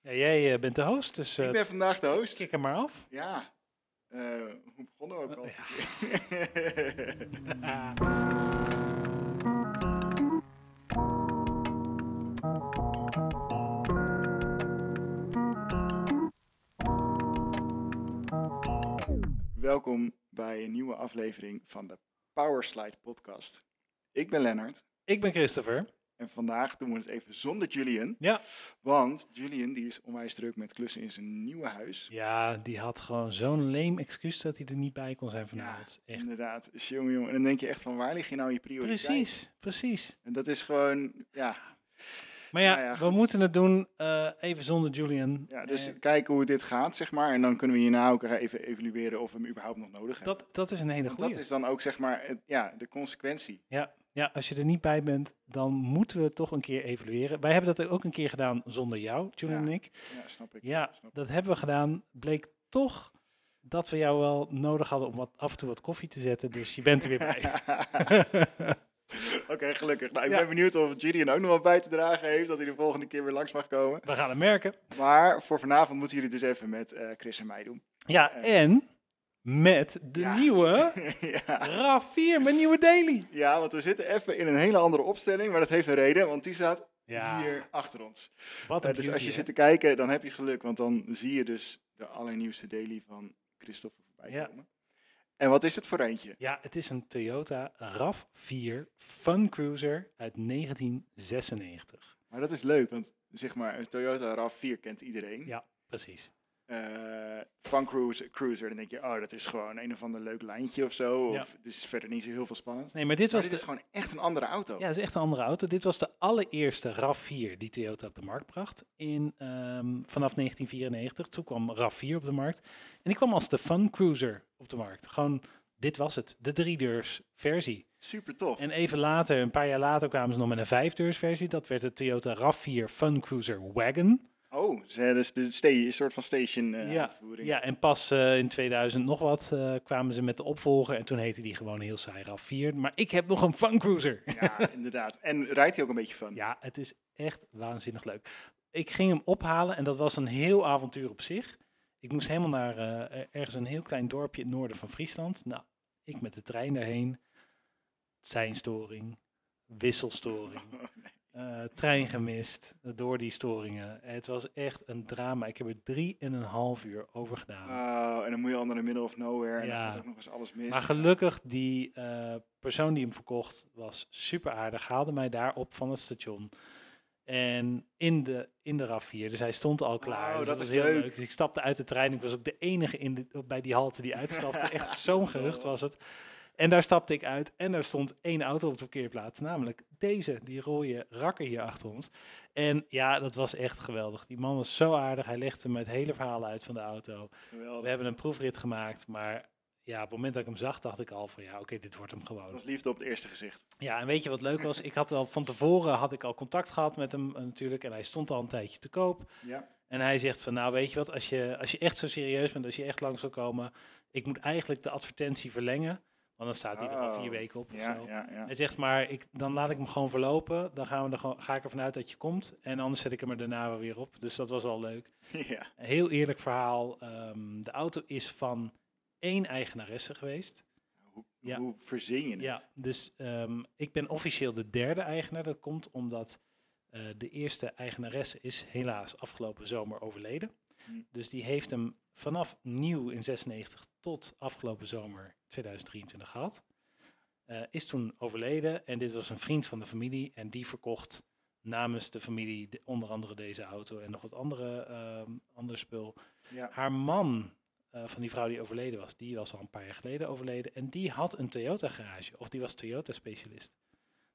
Ja, jij eh, bent de host, dus Ik eh ben vandaag de host. kik hem maar af. Ja. Eh, hoe begonnen we ook al? Welkom bij een nieuwe aflevering van de Powerslide podcast. Ik ben Lennart Ik ben Christopher. en vandaag doen we het even zonder Julian. Ja. Want Julian die is onwijs druk met klussen in zijn nieuwe huis. ja, die had gewoon zo'n leem excuus dat hij er niet bij kon zijn vanavond. Echt. Inderdaad, jongen, jongen. En dan denk je echt van waar liggen nou je prioriteiten? Precies, precies. En dat is gewoon, ja. Maar ja, Nou ja, we goed. moeten het doen eh, even zonder Julian. ja dus Eh, kijken hoe dit gaat, zeg maar. En dan kunnen we hierna ook even evalueren of we hem überhaupt nog nodig hebben. dat, dat is een hele Want goede. dat is dan ook, zeg maar, het- ja, de consequentie. Ja, ja, als je er niet bij bent, dan moeten we het toch een keer evalueren. Wij hebben dat ook een keer gedaan zonder jou, Julian Ja. en ik. Ja, snap ik. Ja, snap ik. dat hebben we gedaan. Bleek toch dat we jou wel nodig hadden om wat, af en toe wat koffie te zetten. Dus je bent er weer bij. Oké, gelukkig. Nou, ik Ja. ben benieuwd of Julian ook nog wat bij te dragen heeft. Dat hij de volgende keer weer langs mag komen. We gaan het merken. Maar voor vanavond moeten jullie dus even met eh, Chris en mij doen. Ja, en met de Eh. Ja. nieuwe ja. RAV4, mijn nieuwe daily. ja, want we zitten even in een hele andere opstelling. Maar dat heeft een reden, want die staat Ja. hier achter ons. Wat een Eh, dus als beauty, je hè? zit te kijken, dan heb je geluk. Want dan zie je dus de allernieuwste daily van Christopher voorbij Ja. komen. En wat is het voor eentje? Ja, het is een Toyota RAV4 Fun Cruiser uit 1996. Maar dat is leuk, want zeg maar, een Toyota RAV4 kent iedereen. Ja, precies. eh van cruise, Cruiser, dan denk je, oh, dat is gewoon een of ander leuk lijntje of zo. Of Ja. het is verder niet zo heel veel spannend. Nee, maar dit Maar was dit is de, gewoon echt een andere auto. ja, het is echt een andere auto. Dit was de allereerste RAV4 die Toyota op de markt bracht in, ehm, vanaf 1994. Toen kwam RAV4 op de markt. En die kwam als de Fun Cruiser op de markt. Gewoon, dit was het. De driedeurs versie. Super tof. En even later, een paar jaar later, kwamen ze nog met een vijfdeursversie. Dat werd de Toyota RAV4 Fun Cruiser Wagon. oh, ze hebben dus de sta- een soort van station eh, ja, uitvoering. ja, en pas eh, in 2000 nog wat eh, kwamen ze met de opvolger. En toen heette die gewoon heel saai RAV4. Maar ik heb nog een Fun Cruiser. Ja, inderdaad. En rijdt hij ook een beetje van? Ja, het is echt waanzinnig leuk. Ik ging hem ophalen en dat was een heel avontuur op zich. Ik moest helemaal naar eh, ergens een heel klein dorpje in het noorden van Friesland. Nou, ik met de trein daarheen. Zijn storing, wisselstoring, eh, trein gemist door die storingen. Het was echt een drama. Ik heb er drieënhalf uur over gedaan. Oh, en dan moet je al naar de middle of nowhere. En Ja. dan gaat ook nog eens alles mis. Maar gelukkig, die eh, persoon die hem verkocht was super aardig. Haalde mij daar op van het station. En in de, in de RAF4. Dus hij stond al klaar. Wauw, dus dat was is heel leuk. leuk. Dus ik stapte uit de trein. Ik was ook de enige in de, bij die halte die uitstapte. Echt zo'n gerucht was het. En daar stapte ik uit. En daar stond één auto op de parkeerplaats. Namelijk deze, die rode rakker hier achter ons. En ja, dat was echt geweldig. Die man was zo aardig. Hij legde me het hele verhaal uit van de auto. Geweldig. We hebben een proefrit gemaakt, maar ja, op het moment dat ik hem zag, dacht ik al van ja, oké, dit wordt hem Dat gewoon. was liefde op het eerste gezicht. Ja, en weet je wat leuk was? Ik had al van tevoren had ik al contact gehad met hem eh, natuurlijk en hij stond al een tijdje te koop. Ja. En hij zegt van nou, weet je wat, als je, als je echt zo serieus bent, als je echt lang zou komen, ik moet eigenlijk de advertentie verlengen, want dan staat hij er al Oh, vier weken op of Ja, zo. ja, ja. Hij zegt maar, ik, dan laat ik hem gewoon verlopen, dan gaan we er gewoon, ga ik ervan uit dat je komt en anders zet ik hem er daarna wel weer op. Dus dat was al leuk. ja. Een heel eerlijk verhaal. ehm, de auto is van één eigenaresse geweest. Hoe, Ja. hoe verzin je het? Ja, dus ehm, ik ben officieel de derde eigenaar. Dat komt omdat eh, de eerste eigenaresse is helaas afgelopen zomer overleden. Hm. Dus die heeft hem vanaf nieuw in 96 tot afgelopen zomer 2023 gehad. Eh, is toen overleden en dit was een vriend van de familie en die verkocht namens de familie de- onder andere deze auto en nog wat andere, ehm ander spul Ja. haar man eh, van die vrouw die overleden was, die was al een paar jaar geleden overleden. En die had een Toyota garage, of die was Toyota specialist.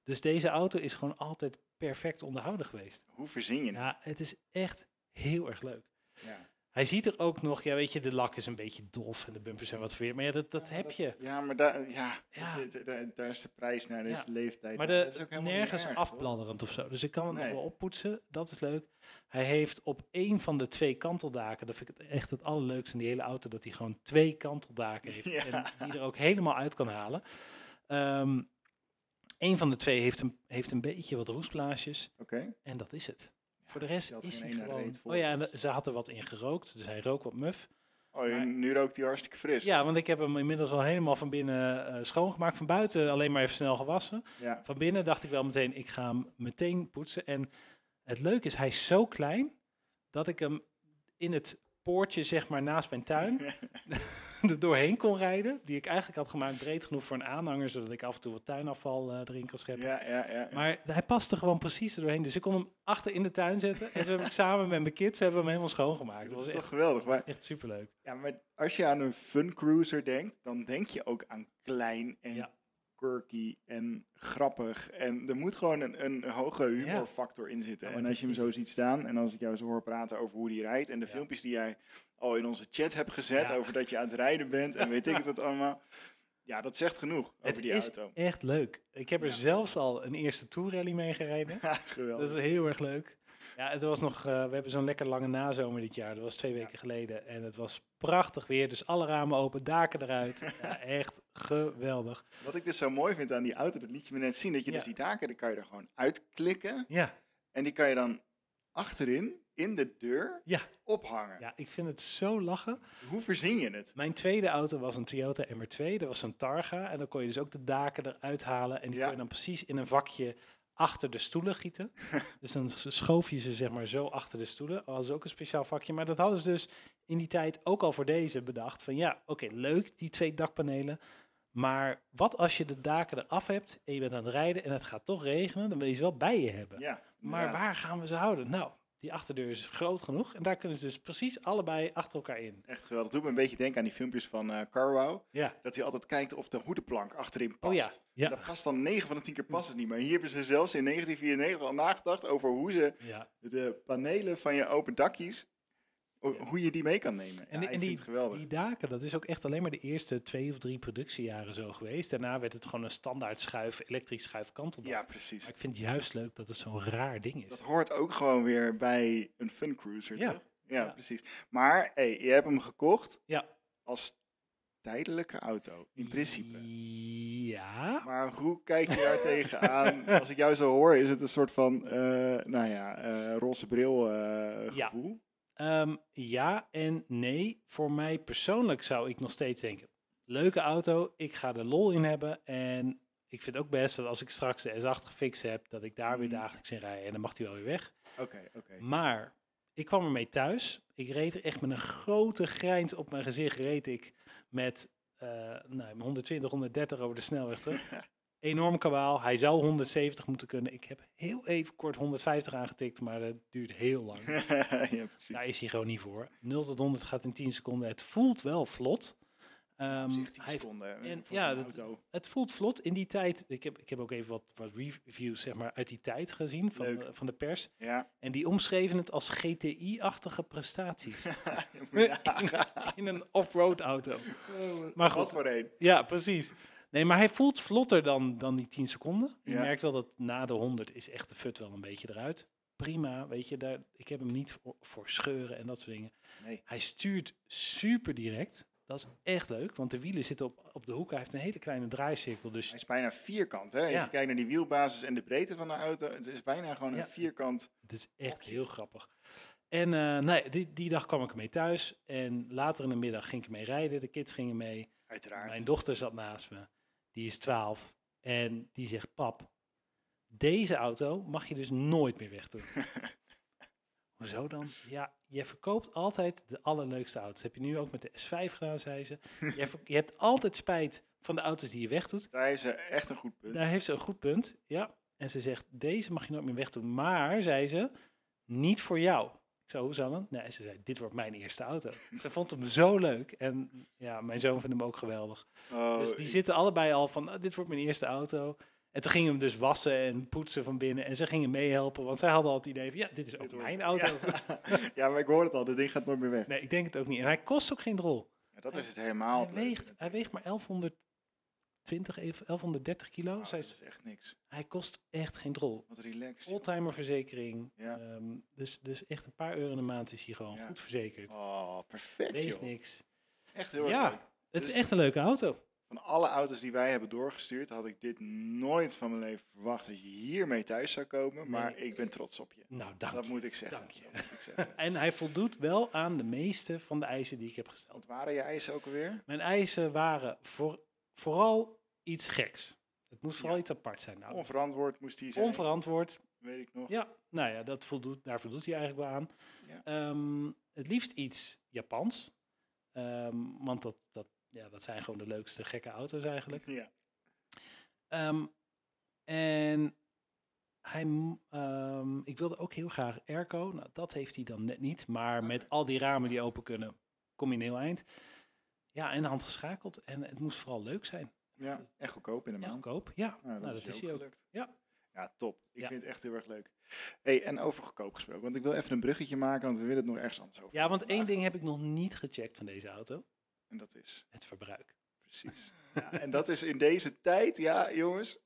Dus deze auto is gewoon altijd perfect onderhouden geweest. Hoe verzin je het? Ja, het is echt heel erg leuk. Ja. Hij ziet er ook nog, ja weet je, de lak is een beetje dof en de bumpers zijn wat verweerd. Maar ja, dat, dat heb je. Ja, maar daar, ja, Ja. dat is- Daar, daar is de prijs naar, deze Ja. leeftijd. Maar naar. Dat is de, ook helemaal niet nergens erg, hoor. afbladderend of zo. Dus ik kan het nog Nee. wel oppoetsen. Dat is leuk. Hij heeft op één van de twee kanteldaken, dat vind ik het echt het allerleukste in die hele auto, dat hij gewoon twee kanteldaken heeft Ja. en die er ook helemaal uit kan halen. Ehm Eén van de twee heeft een, heeft een beetje wat roestblaasjes Oké. en dat is het. Voor de rest die had is geen hij ene gewoon... reet vol. Oh ja, en eh, ze had er wat in gerookt, dus hij rook wat muf. Oh, Maar- nu rookt hij hartstikke fris. Ja, want ik heb hem inmiddels al helemaal van binnen eh, schoongemaakt. Van buiten alleen maar even snel gewassen. Ja. Van binnen dacht ik wel meteen, ik ga hem meteen poetsen. En het leuke is, hij is zo klein dat ik hem in het poortje, zeg maar, naast mijn tuin er doorheen kon rijden. Die ik eigenlijk had gemaakt breed genoeg voor een aanhanger, zodat ik af en toe wat tuinafval eh, erin kan scheppen. Ja, ja, ja. Maar hij paste gewoon precies er doorheen. Dus ik kon hem achter in de tuin zetten. En toen heb ik samen met mijn kids hebben we hem helemaal schoongemaakt. dat Dat was is toch echt, geweldig. Maar, echt superleuk. ja, maar als je aan een fun cruiser denkt, dan denk je ook aan klein en Ja. quirky en grappig. En er moet gewoon een, een hoge humorfactor in zitten. Ja, maar en als je hem dit zo ziet staan en als ik jou zo hoor praten over hoe die rijdt en de filmpjes die jij al in onze chat hebt gezet Ja. over dat je aan het rijden bent en weet ik het wat allemaal. Ja, dat zegt genoeg over Het die is auto. echt leuk. Ik heb er zelfs al een eerste tourrally mee gereden. Ja, geweldig. Dat is heel erg leuk. Ja, het was nog, eh, we hebben zo'n lekker lange nazomer dit jaar. Dat was twee weken geleden. En het was prachtig weer. Dus alle ramen open, daken eruit. Ja, echt geweldig. Wat ik dus zo mooi vind aan die auto, dat liet je me net zien, dat je Ja. dus die daken, dan kan je er gewoon uitklikken. Ja, En die kan je dan achterin, in de deur, ja, ophangen. ja, ik vind het zo lachen. Hoe verzin je het? Mijn tweede auto was een Toyota MR2. Dat was een Targa. En dan kon je dus ook de daken eruit halen. En die Ja. kon je dan precies in een vakje achter de stoelen gieten. dus dan s- schoof je ze zeg maar zo achter de stoelen. Dat was ook een speciaal vakje. Maar dat hadden ze dus in die tijd ook al voor deze bedacht. Van ja, oké, leuk die twee dakpanelen. Maar wat als je de daken eraf hebt en je bent aan het rijden en het gaat toch regenen, dan wil je ze wel bij je hebben. Ja, maar inderdaad. waar gaan we ze houden? Nou, die achterdeur is groot genoeg en daar kunnen ze dus precies allebei achter elkaar in. Echt geweldig. Doe me een beetje denken aan die filmpjes van eh Carwow. Ja. Dat hij altijd kijkt of de hoedenplank achterin past. Oh ja, ja. En Dat past dan 9 van de 10 keer past het niet. Maar hier hebben ze zelfs in 1994 al nagedacht over hoe ze Ja, de panelen van je open dakjes, ho- hoe je die mee kan nemen. En, die- en Ja, ik vind die, het geweldig. die daken, dat is ook echt alleen maar de eerste twee of drie productiejaren zo geweest. Daarna werd het gewoon een standaard schuif, elektrisch schuif kanteldak. ja, Maar precies. ik vind het juist leuk dat het zo'n raar ding is. Dat hoort ook gewoon weer bij een fun cruiser, Ja. toch? Ja, Ja. precies. Maar hey, je hebt hem gekocht Ja. als tijdelijke auto, in principe. Ja. Maar hoe kijk je daar tegenaan? Als ik jou zo hoor, is het een soort van, eh, nou ja, eh, roze bril eh, Ja. gevoel. Ehm, ja en nee. Voor mij persoonlijk zou ik nog steeds denken, leuke auto, ik ga er lol in hebben. En ik vind ook best dat als ik straks de S8 gefixt heb, dat ik daar weer Mhm. dagelijks in rij. En dan mag die wel weer weg. Oké, oké. Mm. Maar ik kwam ermee thuis. Ik reed er echt met een grote grijns op mijn gezicht. Reed ik met eh, nou, 120, 130 over de snelweg terug. Enorm kabaal. Hij zou 170 moeten kunnen. Ik heb heel even kort 150 aangetikt, maar dat duurt heel lang. ja, precies. Daar is hij gewoon niet voor. 0 tot 100 gaat in 10 seconden. Het voelt wel vlot. Ehm, Op zich 10 hij seconden eh, en- voor ja, een dat- auto. het voelt vlot in die tijd. Ik heb, ik heb ook even wat, wat reviews zeg maar, uit die tijd gezien van, Leuk. de- van de pers. Ja. En die omschreven het als GTI-achtige prestaties ja. Oh, in een off-road auto. Maar goed. Wat voor een. Ja, precies. Nee, maar hij voelt vlotter dan, dan die 10 seconden. Je Ja. merkt wel dat na de 100 is echt de fut wel een beetje eruit. Prima, weet je, daar, ik heb hem niet voor, voor scheuren en dat soort dingen. Nee. Hij stuurt super direct. Dat is echt leuk, want de wielen zitten op, op de hoek. Hij heeft een hele kleine draaicirkel, dus Hij is bijna vierkant, hè? Als Ja. je kijkt naar die wielbasis en de breedte van de auto, het is bijna gewoon Ja. een vierkant. Het is echt heel grappig. En eh, nee, die, die dag kwam ik ermee thuis. En later in de middag ging ik ermee rijden. De kids gingen mee. Uiteraard. Mijn dochter zat naast me. Die is 12. En die zegt: Pap, deze auto mag je dus nooit meer wegdoen. Hoezo dan? Ja, je verkoopt altijd de allerleukste auto's. heb je nu ook met de S5 gedaan, zei ze. Je, ver- je hebt altijd spijt van de auto's die je wegdoet. Daar is eh, echt een goed punt. Daar heeft ze een goed punt, ja. En ze zegt, deze mag je nooit meer wegdoen. Maar, zei ze, niet voor jou. Ik zei, hoe zal dan? Nee, ze zei, dit wordt mijn eerste auto. ze vond hem zo leuk. En ja, mijn zoon vindt hem ook geweldig. Oh, dus die ik- zitten allebei al van, "Ah, dit wordt mijn eerste auto. En toen gingen we hem dus wassen en poetsen van binnen. En ze gingen meehelpen, want zij hadden al het idee van, ja, dit is ook wordt- mijn auto. ja, maar ik hoor het al, dit ding gaat nooit meer weg. Nee, ik denk het ook niet. En hij kost ook geen drol. Ja, dat is het helemaal. hij, het leuke weegt, hij weegt maar 1120, 1130 kilo. natuurlijk. Zij Nou, is- dat is echt niks. hij kost echt geen drol. Wat relaxed. joh. Oldtimerverzekering. Ja. Ehm, dus, dus echt een paar euro in de maand is hij gewoon Ja. goed verzekerd. Oh, perfect Weegt joh. niks. Echt heel erg Ja. leuk. Het is Dus- echt een leuke auto. Van alle auto's die wij hebben doorgestuurd, had ik dit nooit van mijn leven verwacht dat je hiermee thuis zou komen. Maar Nee. ik ben trots op je. Nou, dank dat je. moet ik zeggen. Dank je. Dat moet ik zeggen. En hij voldoet wel aan de meeste van de eisen die ik heb gesteld. Wat waren je eisen ook alweer? Mijn eisen waren voor, vooral iets geks. Het moest vooral iets apart zijn. Nou, Onverantwoord moest die zijn. onverantwoord. Weet ik nog. Ja, nou ja, dat voldoet, daar voldoet hij eigenlijk wel aan. Ja. Ehm, het liefst iets Japans. Ehm, want dat, dat, ja, dat zijn gewoon de leukste gekke auto's eigenlijk. Ja. Ehm, en hij, m- ehm, ik wilde ook heel graag airco. Nou, dat heeft hij dan net niet. Maar met al die ramen die open kunnen, kom je een heel eind. Ja, en handgeschakeld. En het moest vooral leuk zijn. ja. En goedkoop in de En maand. goedkoop. Ja, Nou, nou, dat, is, hij ook. gelukt. Ja. Ja, top. Ik Ja. vind het echt heel erg leuk. Hey, en over goedkoop gesproken, want ik wil even een bruggetje maken, want we willen het nog ergens anders over. Ja, want hebben één vandaag. ding heb ik nog niet gecheckt van deze auto. En dat is, Het verbruik. precies. ja, en dat is in deze tijd, ja jongens,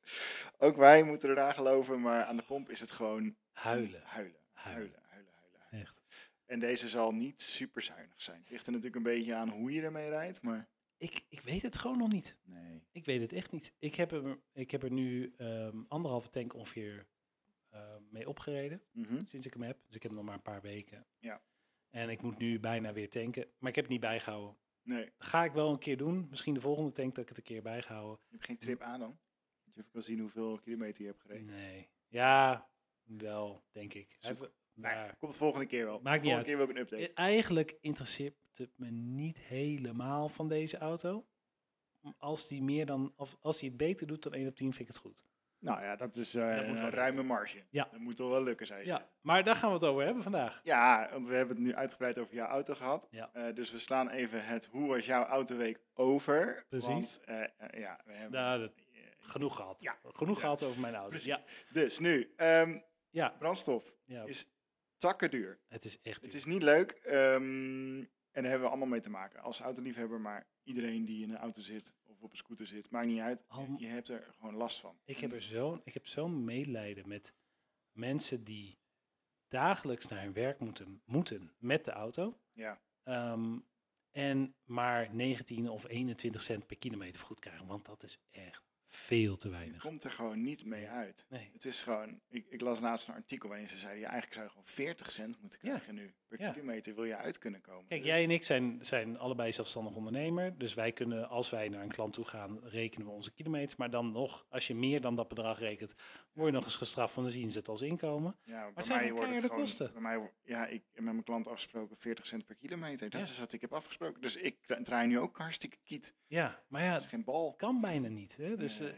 ook wij moeten eraan geloven, maar aan de pomp is het gewoon Huilen. Huilen, huilen, Huilen. huilen, huilen. huilen. Echt. En deze zal niet super zuinig zijn. Het ligt er natuurlijk een beetje aan hoe je ermee rijdt, maar... Ik, ik weet het gewoon nog niet. Nee. Ik weet het echt niet. Ik heb er, ik heb er nu ehm, anderhalve tank ongeveer ehm, mee opgereden. Mhm. sinds ik hem heb. Dus ik heb hem nog maar een paar weken. Ja. En ik moet nu bijna weer tanken. Maar ik heb het niet bijgehouden. Nee, Dat ga ik wel een keer doen. Misschien de volgende tank dat ik het een keer bijgehouden. je hebt geen trip aan dan. Je hebt wel zien hoeveel kilometer je hebt gereden. Nee. Ja, wel, denk ik. Hij Zoek. heeft- Nou ja, Maar komt de volgende keer wel. Maakt niet volgende uit. keer wil ik een update. e- eigenlijk interesseert het me niet helemaal van deze auto. Als die meer dan, of als die het beter doet dan 1 op 10, vind ik het goed. Nou ja, dat is eh, Dat moet wel een ruime marge. Ja. Dat moet toch wel lukken, zei je. Ja, maar daar gaan we het over hebben vandaag. Ja, want we hebben het nu uitgebreid over jouw auto gehad. Ja. Eh, dus we slaan even het hoe was jouw autoweek over. Precies. Want, eh, eh, ja, we hebben... Nou, dat- Genoeg gehad. Ja. Genoeg Ja. gehad over mijn auto. Precies. Ja, Dus nu, ehm, ja, brandstof ja, is takken duur. het is echt Het duur. is niet leuk. ehm, en daar hebben we allemaal mee te maken. Als autoliefhebber, maar iedereen die in een auto zit of op een scooter zit, maakt niet uit. Al- Je hebt er gewoon last van. Ik heb er zo'n, ik heb zo'n medelijden met mensen die dagelijks naar hun werk moeten, moeten met de auto. Ja. Ehm, en maar 19 of 21 cent per kilometer goed krijgen. Want dat is echt veel te Je weinig. komt er gewoon niet mee uit. Nee. Het is gewoon, ik, ik las laatst een artikel waarin ze zeiden, ja, eigenlijk zou je gewoon 40 cent moeten Ja. krijgen nu. Per Ja. kilometer wil je uit kunnen komen. Kijk, Dus- jij en ik zijn, zijn allebei zelfstandig ondernemer. Dus wij kunnen, als wij naar een klant toe gaan, rekenen we onze kilometers. Maar dan nog, als je meer dan dat bedrag rekent, word je nog eens gestraft. van dan zien ze het als inkomen. Ja, bij het zijn mij gewoon wordt keiharde het gewoon, kosten. Bij mij, wo- ja, ik heb met mijn klant afgesproken 40 cent per kilometer. Dat Ja. is wat ik heb afgesproken. Dus ik dra- draai nu ook hartstikke kiet. Ja, maar ja, Dat is het geen bal. kan bijna niet. Hè? Dus, eh, Nee.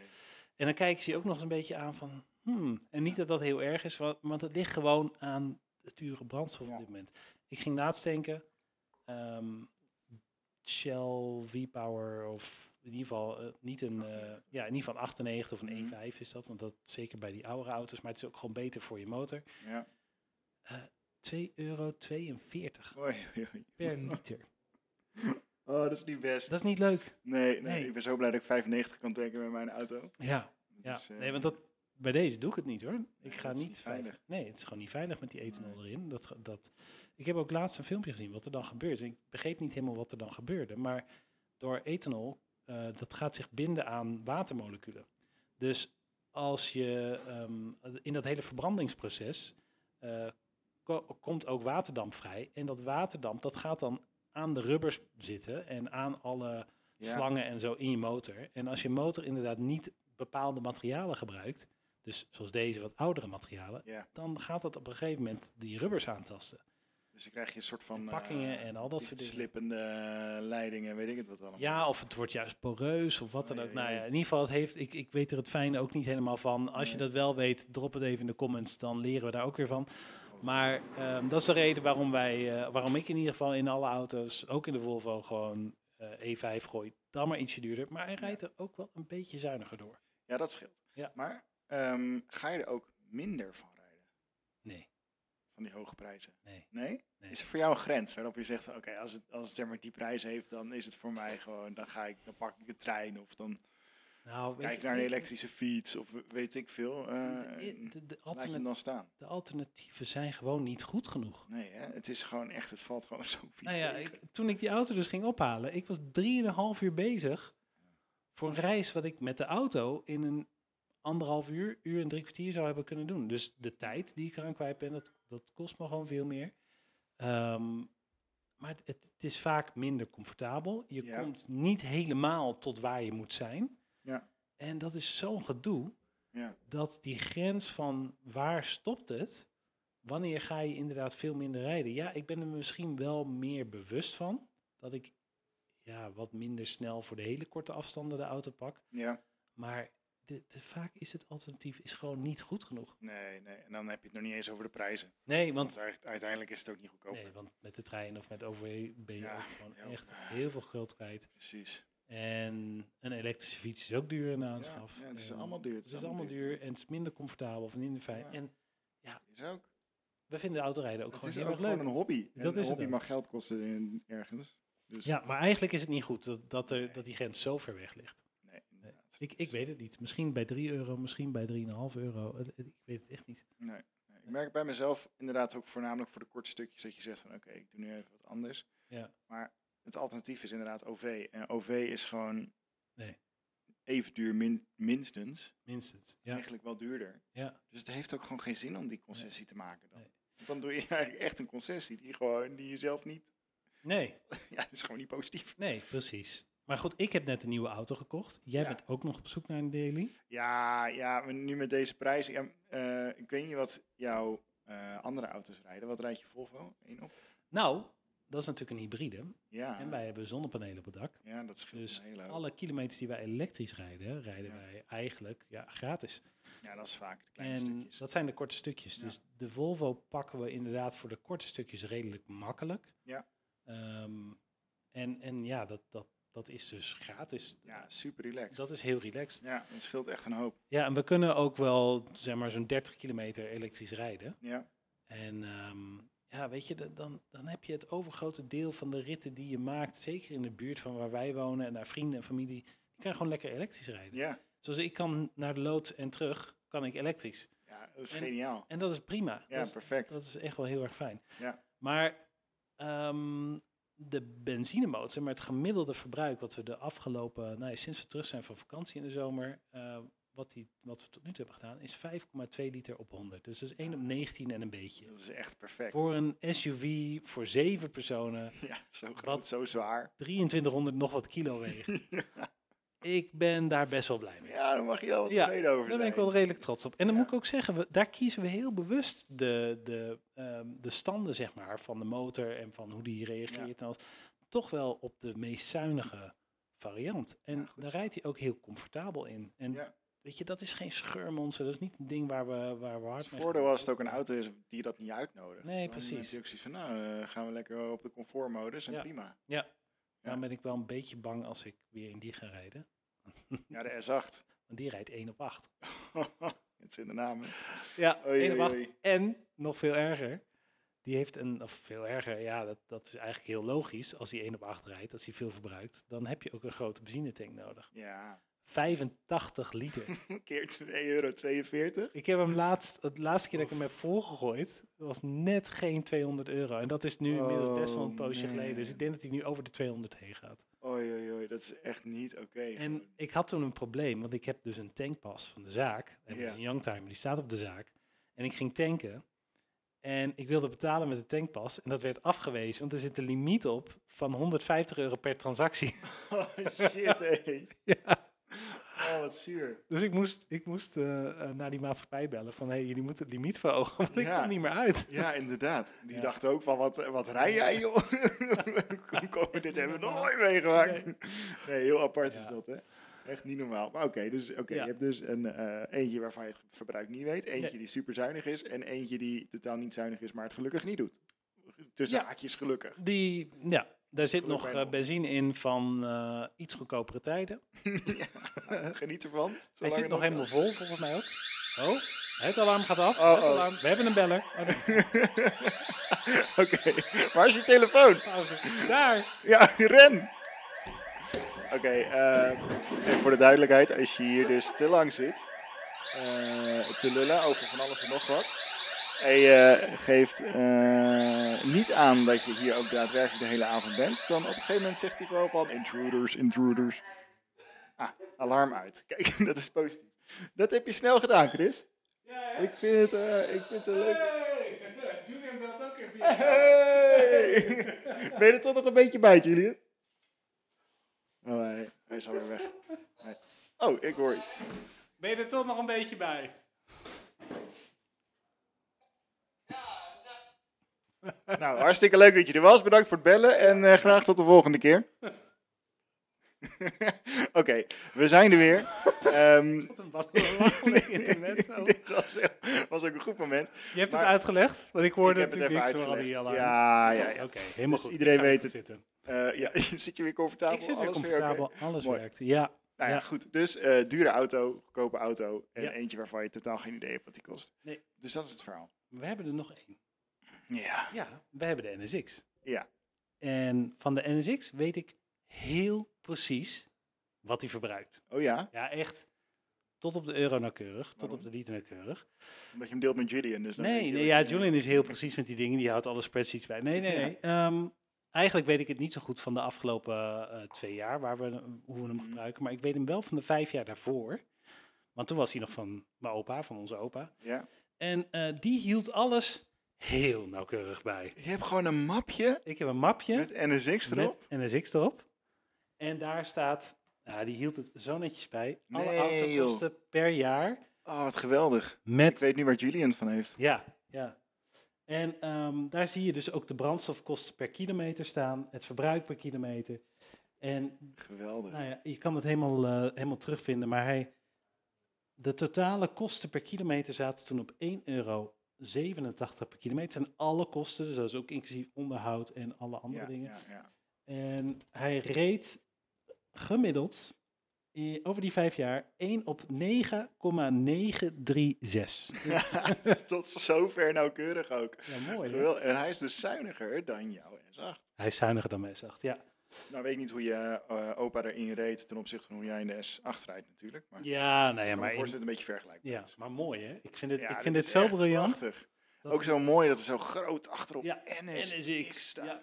En dan kijken ze je ook nog eens een beetje aan van... Hmm, en niet dat dat heel erg is, want, want het ligt gewoon aan het dure brandstof Ja. op dit moment. Ik ging laatst tanken. ehm, Shell V-Power of in ieder geval eh, niet een... eh, ja, in ieder geval een 98 of een Mhm. 1.5 is dat. Want dat zeker bij die oude auto's. Maar het is ook gewoon beter voor je motor. ja. 2,42 euro Oei, oei, oei. per liter. Oh, dat is niet best. Dat is niet leuk. Nee, nee, Nee. ik ben zo blij dat ik 95 kan tanken met mijn auto. Ja, Dat ja. is, eh, nee, want dat, bij deze doe ik het niet hoor. Ik ga dat is niet, niet veilig. veilig. Nee, het is gewoon niet veilig met die ethanol erin. Dat, ge- dat, ik heb ook laatst een filmpje gezien wat er dan gebeurt. En Ik begreep niet helemaal wat er dan gebeurde. Maar door ethanol, eh, dat gaat zich binden aan watermoleculen. Dus als je ehm, in dat hele verbrandingsproces eh, ko- komt ook waterdamp vrij. En dat waterdamp, dat gaat dan aan de rubbers zitten en aan alle Ja. slangen en zo in je motor. En als je motor inderdaad niet bepaalde materialen gebruikt, dus zoals deze wat oudere materialen, Ja. dan gaat dat op een gegeven moment die rubbers aantasten. Dus dan krijg je een soort van... Pakkingen eh, en al dat die soort dingen. Slippende eh, leidingen, weet ik het wat allemaal. Ja, of het wordt juist poreus of wat dan Ai, ook. ai, Nou ja, ai. in ieder geval, het heeft, ik, ik weet er het fijne ook niet helemaal van. Als je Nee. dat wel weet, drop het even in de comments, dan leren we daar ook weer van. Maar ehm, dat is de reden waarom, wij, eh, waarom ik in ieder geval in alle auto's, ook in de Volvo, gewoon eh, E5 gooi. Dan maar ietsje duurder, maar hij rijdt er ook wel een beetje zuiniger door. Ja, dat scheelt. Ja. Maar ehm, ga je er ook minder van rijden? Nee, Van die hoge prijzen? nee. Nee? Nee. Is er voor jou een grens waarop je zegt, van, oké, als het, als het zeg maar die prijs heeft, dan is het voor mij gewoon, dan ga ik, dan pak ik de trein of dan Nou, weet kijk je, naar een ik- elektrische fiets of weet ik veel. eh, de, de, de laat je hem alternat- dan staan. de alternatieven zijn gewoon niet goed genoeg. Nee, hè? het is gewoon echt, het valt gewoon zo vies Nou ja, tegen. ik, toen ik die auto dus ging ophalen, ik was 3,5 uur bezig Voor een reis wat ik met de auto in een anderhalf uur, uur en drie kwartier zou hebben kunnen doen. Dus de tijd die ik eraan kwijt ben, dat, dat kost me gewoon veel meer. Ehm, maar het, het is vaak minder comfortabel. Je Ja. komt niet helemaal tot waar je moet zijn. Ja. En dat is zo'n gedoe Ja. dat die grens van waar stopt het, wanneer ga je inderdaad veel minder rijden? Ja, ik ben er misschien wel meer bewust van dat ik ja, wat minder snel voor de hele korte afstanden de auto pak. Ja. Maar de, de- vaak is het alternatief is gewoon niet goed genoeg. Nee, nee. En dan heb je het nog niet eens over de prijzen. Nee, want, Want eigenlijk- uiteindelijk is het ook niet goedkoper. nee, want met de trein of met OV ben je Ja, ook gewoon ja. echt heel veel geld kwijt. Precies. En een elektrische fiets is ook duur in de aanschaf. ja, het is En allemaal duur, Het is allemaal duur en het is minder comfortabel of minder fijn. Ja. En Is ook. we vinden autorijden ook Het gewoon is heel ook erg gewoon leuk. een hobby. En Dat is een het hobby ook. mag geld kosten in- ergens. Dus Ja, maar eigenlijk is het niet goed dat, dat, er, Nee. dat die grens zo ver weg ligt. nee, inderdaad. Ik, ik weet het niet. Misschien bij 3 euro, misschien bij 3,5 euro. Het- het- Ik weet het echt niet. Nee, nee. Ik merk bij mezelf inderdaad ook voornamelijk voor de korte stukjes dat je zegt van oké, ik doe nu even wat anders. Ja. Maar het alternatief is inderdaad OV. En OV is gewoon Nee. even duur min, minstens. Minstens. Ja, Eigenlijk wel duurder. ja. Dus het heeft ook gewoon geen zin om die concessie te maken dan. Nee. Want dan doe je eigenlijk echt een concessie die, gewoon, die je zelf niet... Nee, Ja, dat is gewoon niet positief. nee, precies. Maar goed, ik heb net een nieuwe auto gekocht. Jij Ja. bent ook nog op zoek naar een daily. Ja, ja, maar nu met deze prijs. Ja, eh, ik weet niet wat jouw eh, andere auto's rijden. Wat rijdt je Volvo? Eén op? Nou, dat is natuurlijk een hybride. Ja, En wij hebben zonnepanelen op het dak. ja dat scheelt Dus een hele hoop. alle kilometers die wij elektrisch rijden, rijden Ja. wij eigenlijk ja, gratis. Ja, dat is vaak de kleine En stukjes. dat zijn de korte stukjes. Ja. Dus de Volvo pakken we inderdaad voor de korte stukjes redelijk makkelijk. Ja. Ehm, en, en ja, dat, dat, dat is dus gratis. Ja, super relaxed. Dat is heel relaxed. Ja, dat scheelt echt een hoop. Ja, en we kunnen ook wel zeg maar zo'n 30 kilometer elektrisch rijden. Ja, En ehm, ja, weet je, dan- dan, dan heb je het overgrote deel van de ritten die je maakt, zeker in de buurt van waar wij wonen en naar vrienden en familie, die kan gewoon lekker elektrisch rijden. ja. Zoals ik kan naar de loods en terug, kan ik elektrisch. ja dat is En- geniaal. En dat is prima. Ja, dat, is, perfect. dat is echt wel heel erg fijn. Ja. Maar ehm, de benzinemotor, zeg maar het gemiddelde verbruik wat we de afgelopen, nou ja, sinds we terug zijn van vakantie in de zomer, eh, wat, die, wat we tot nu toe hebben gedaan, is 5,2 liter op 100. Dus dat is 1 op 19 en een beetje. Dat is echt perfect. Voor een SUV, voor zeven personen, Ja, zo groot, Wat- zo zwaar. 2300 nog wat kilo weegt. Ik ben daar best wel blij mee. Ja, daar mag je wel wat Ja, tevreden over Daar ben ik zijn. wel redelijk trots op. En dan Ja. moet ik ook zeggen, we, daar kiezen we heel bewust de, de, ehm, de standen zeg maar, van de motor en van hoe die reageert. En als, toch wel op de meest zuinige variant. En Ja, goed daar zo. rijdt hij ook heel comfortabel in. En Ja. weet je, dat is geen scheurmonster. Dat is niet een ding waar we, waar we hard Het mee voordeel gaan. was het ook een auto is die dat niet uitnodigt. Nee, Dan precies. heb je ook zoiets van, nou, eh, gaan we lekker op de comfortmodus en Ja. prima. Ja. Daarom Nou ben ik wel een beetje bang als ik weer in die ga rijden. Ja, de S8. Want die rijdt 1 op 8. het zit in de naam. hè? Ja, Oei, 1 op oei, 8. oei. En nog veel erger. Die heeft een, of veel erger, ja, dat, dat is eigenlijk heel logisch. Als hij 1 op 8 rijdt, als hij veel verbruikt, dan heb je ook een grote benzinetank nodig. Ja, 85 liter. een keer 2,42 euro. ik heb hem laatst, het laatste keer dat ik hem heb volgegooid, was net geen 200 euro. En dat is nu inmiddels best wel een Oh, poosje geleden. Dus man. ik denk dat hij nu over de 200 heen gaat. Oei, oei, oei, dat is echt niet oké. En gewoon. ik had toen een probleem, want ik heb dus een tankpas van de zaak. En dat Ja. is een youngtimer, die staat op de zaak. En ik ging tanken. En ik wilde betalen met de tankpas. En dat werd afgewezen, want er zit een limiet op van 150 euro per transactie. Oh, shit, hé. ja. Oh, wat zuur. Dus ik moest, ik moest eh, eh, naar die maatschappij bellen van... hé, hey, jullie moeten het limiet verhogen, want ik Ja. kom niet meer uit. Ja, inderdaad. Die Ja. dacht ook van, wat, wat rij jij, joh? Hoe komen we dit hebben we nog nooit meegemaakt. Nee, heel apart is Ja. dat, hè? Echt niet normaal. Maar oké, dus, oké, Ja. je hebt dus een, eh, eentje waarvan je het verbruik niet weet. Eentje Nee. die super zuinig is. En eentje die totaal niet zuinig is, maar het gelukkig niet doet. Tussen Ja. haakjes gelukkig. Die, ja, daar zit nog bijna eh, op. benzine in van eh, iets goedkopere tijden. Geniet ervan. Hij zolang zit het nog helemaal vol, volgens mij ook. Oh, het alarm gaat af. Oh, het oh. alarm. We hebben een beller. Oh, nee. Oké, waar is je telefoon? pauze. Daar. Ja, ren! Oké, eh, even voor de duidelijkheid, als je hier dus te lang zit, eh, te lullen over van alles en nog wat. En je geeft eh, niet aan dat je hier ook daadwerkelijk de hele avond bent. Dan op een gegeven moment zegt hij gewoon van intruders, intruders. Ah, alarm uit. Kijk, dat is positief. Dat heb je snel gedaan, Chris. Ik vind het, eh, ik vind het leuk. Julian belt ook even. Hey! ben je er toch nog een beetje bij, Julian? Oh, nee, hij is alweer weg. Nee. Oh, ik hoor je. Ben je er toch nog een beetje bij? Nou, hartstikke leuk dat je er was. Bedankt voor het bellen en eh, graag tot de volgende keer. Oké, we zijn er weer. Ehm, Wat een belachelijk internet. zo. dit was, was ook een goed moment. Je hebt Maar- het uitgelegd, want ik hoorde Ik heb het natuurlijk niks even van al die uitgelegd. alarm. Ja, ja, ja. Oké, helemaal Dus goed. iedereen Ik ga weet even het. Zitten. Eh, ja. Zit je weer comfortabel? Ik zit weer Alles oké? comfortabel, alles Mooi. werkt. Ja. Nou ja, ja. goed. Dus eh, dure auto, goedkope auto en Ja. eentje waarvan je totaal geen idee hebt wat die kost. Nee. Dus dat is het verhaal. We hebben er nog één. Ja. Ja, we hebben de NSX. Ja. En van de NSX weet ik heel precies wat hij verbruikt. Oh ja, Ja, echt. Tot op de euro nauwkeurig, tot Waarom? op de liter nauwkeurig. omdat je hem deelt met Julian. Dus dan weet Nee, je nee, wat ja, je- Julian is heel precies met die dingen. Die houdt alle spreadsheets bij. Nee, nee, nee. Ehm, eigenlijk weet ik het niet zo goed van de afgelopen eh, twee jaar, waar we, hoe we Mm. hem gebruiken. Maar ik weet hem wel van de vijf jaar daarvoor. Want toen was hij nog van mijn opa, van onze opa. Ja. En eh, die hield alles heel nauwkeurig bij. Je hebt gewoon een mapje Ik heb een mapje met NSX erop. en een NSX erop. En daar staat, nou, die hield het zo netjes bij. Alle Nee, autokosten per jaar Oh, wat geweldig. Ik met weet nu waar Julian het van heeft. Ja, ja. En ehm, daar zie je dus ook de brandstofkosten per kilometer staan, het verbruik per kilometer. En Geweldig. nou ja, je kan het helemaal, eh, helemaal terugvinden, maar hij, de totale kosten per kilometer zaten toen op 1,87 euro per kilometer. En alle kosten, dus dat is ook inclusief onderhoud en alle andere Ja, dingen. ja, ja. En hij reed gemiddeld i- over die vijf jaar 1 op 9,936. Tot zover nauwkeurig ook. Ja, mooi. hè? Geweldig. En hij is dus zuiniger dan jouw S8. Hij is zuiniger dan mijn S8, ja. Nou, weet ik niet hoe je eh, opa erin reed ten opzichte van hoe jij in de S8 rijdt natuurlijk. Maar ik Ja, nou ja, kan maar, me in- voorstellen dat het een beetje vergelijkbaar ja, is. maar mooi hè. Ik vind het, Ja, ik vind is het zo echt briljant. prachtig. Ook zo mooi dat er zo groot achterop Ja, NSX, NSX, staat. ja.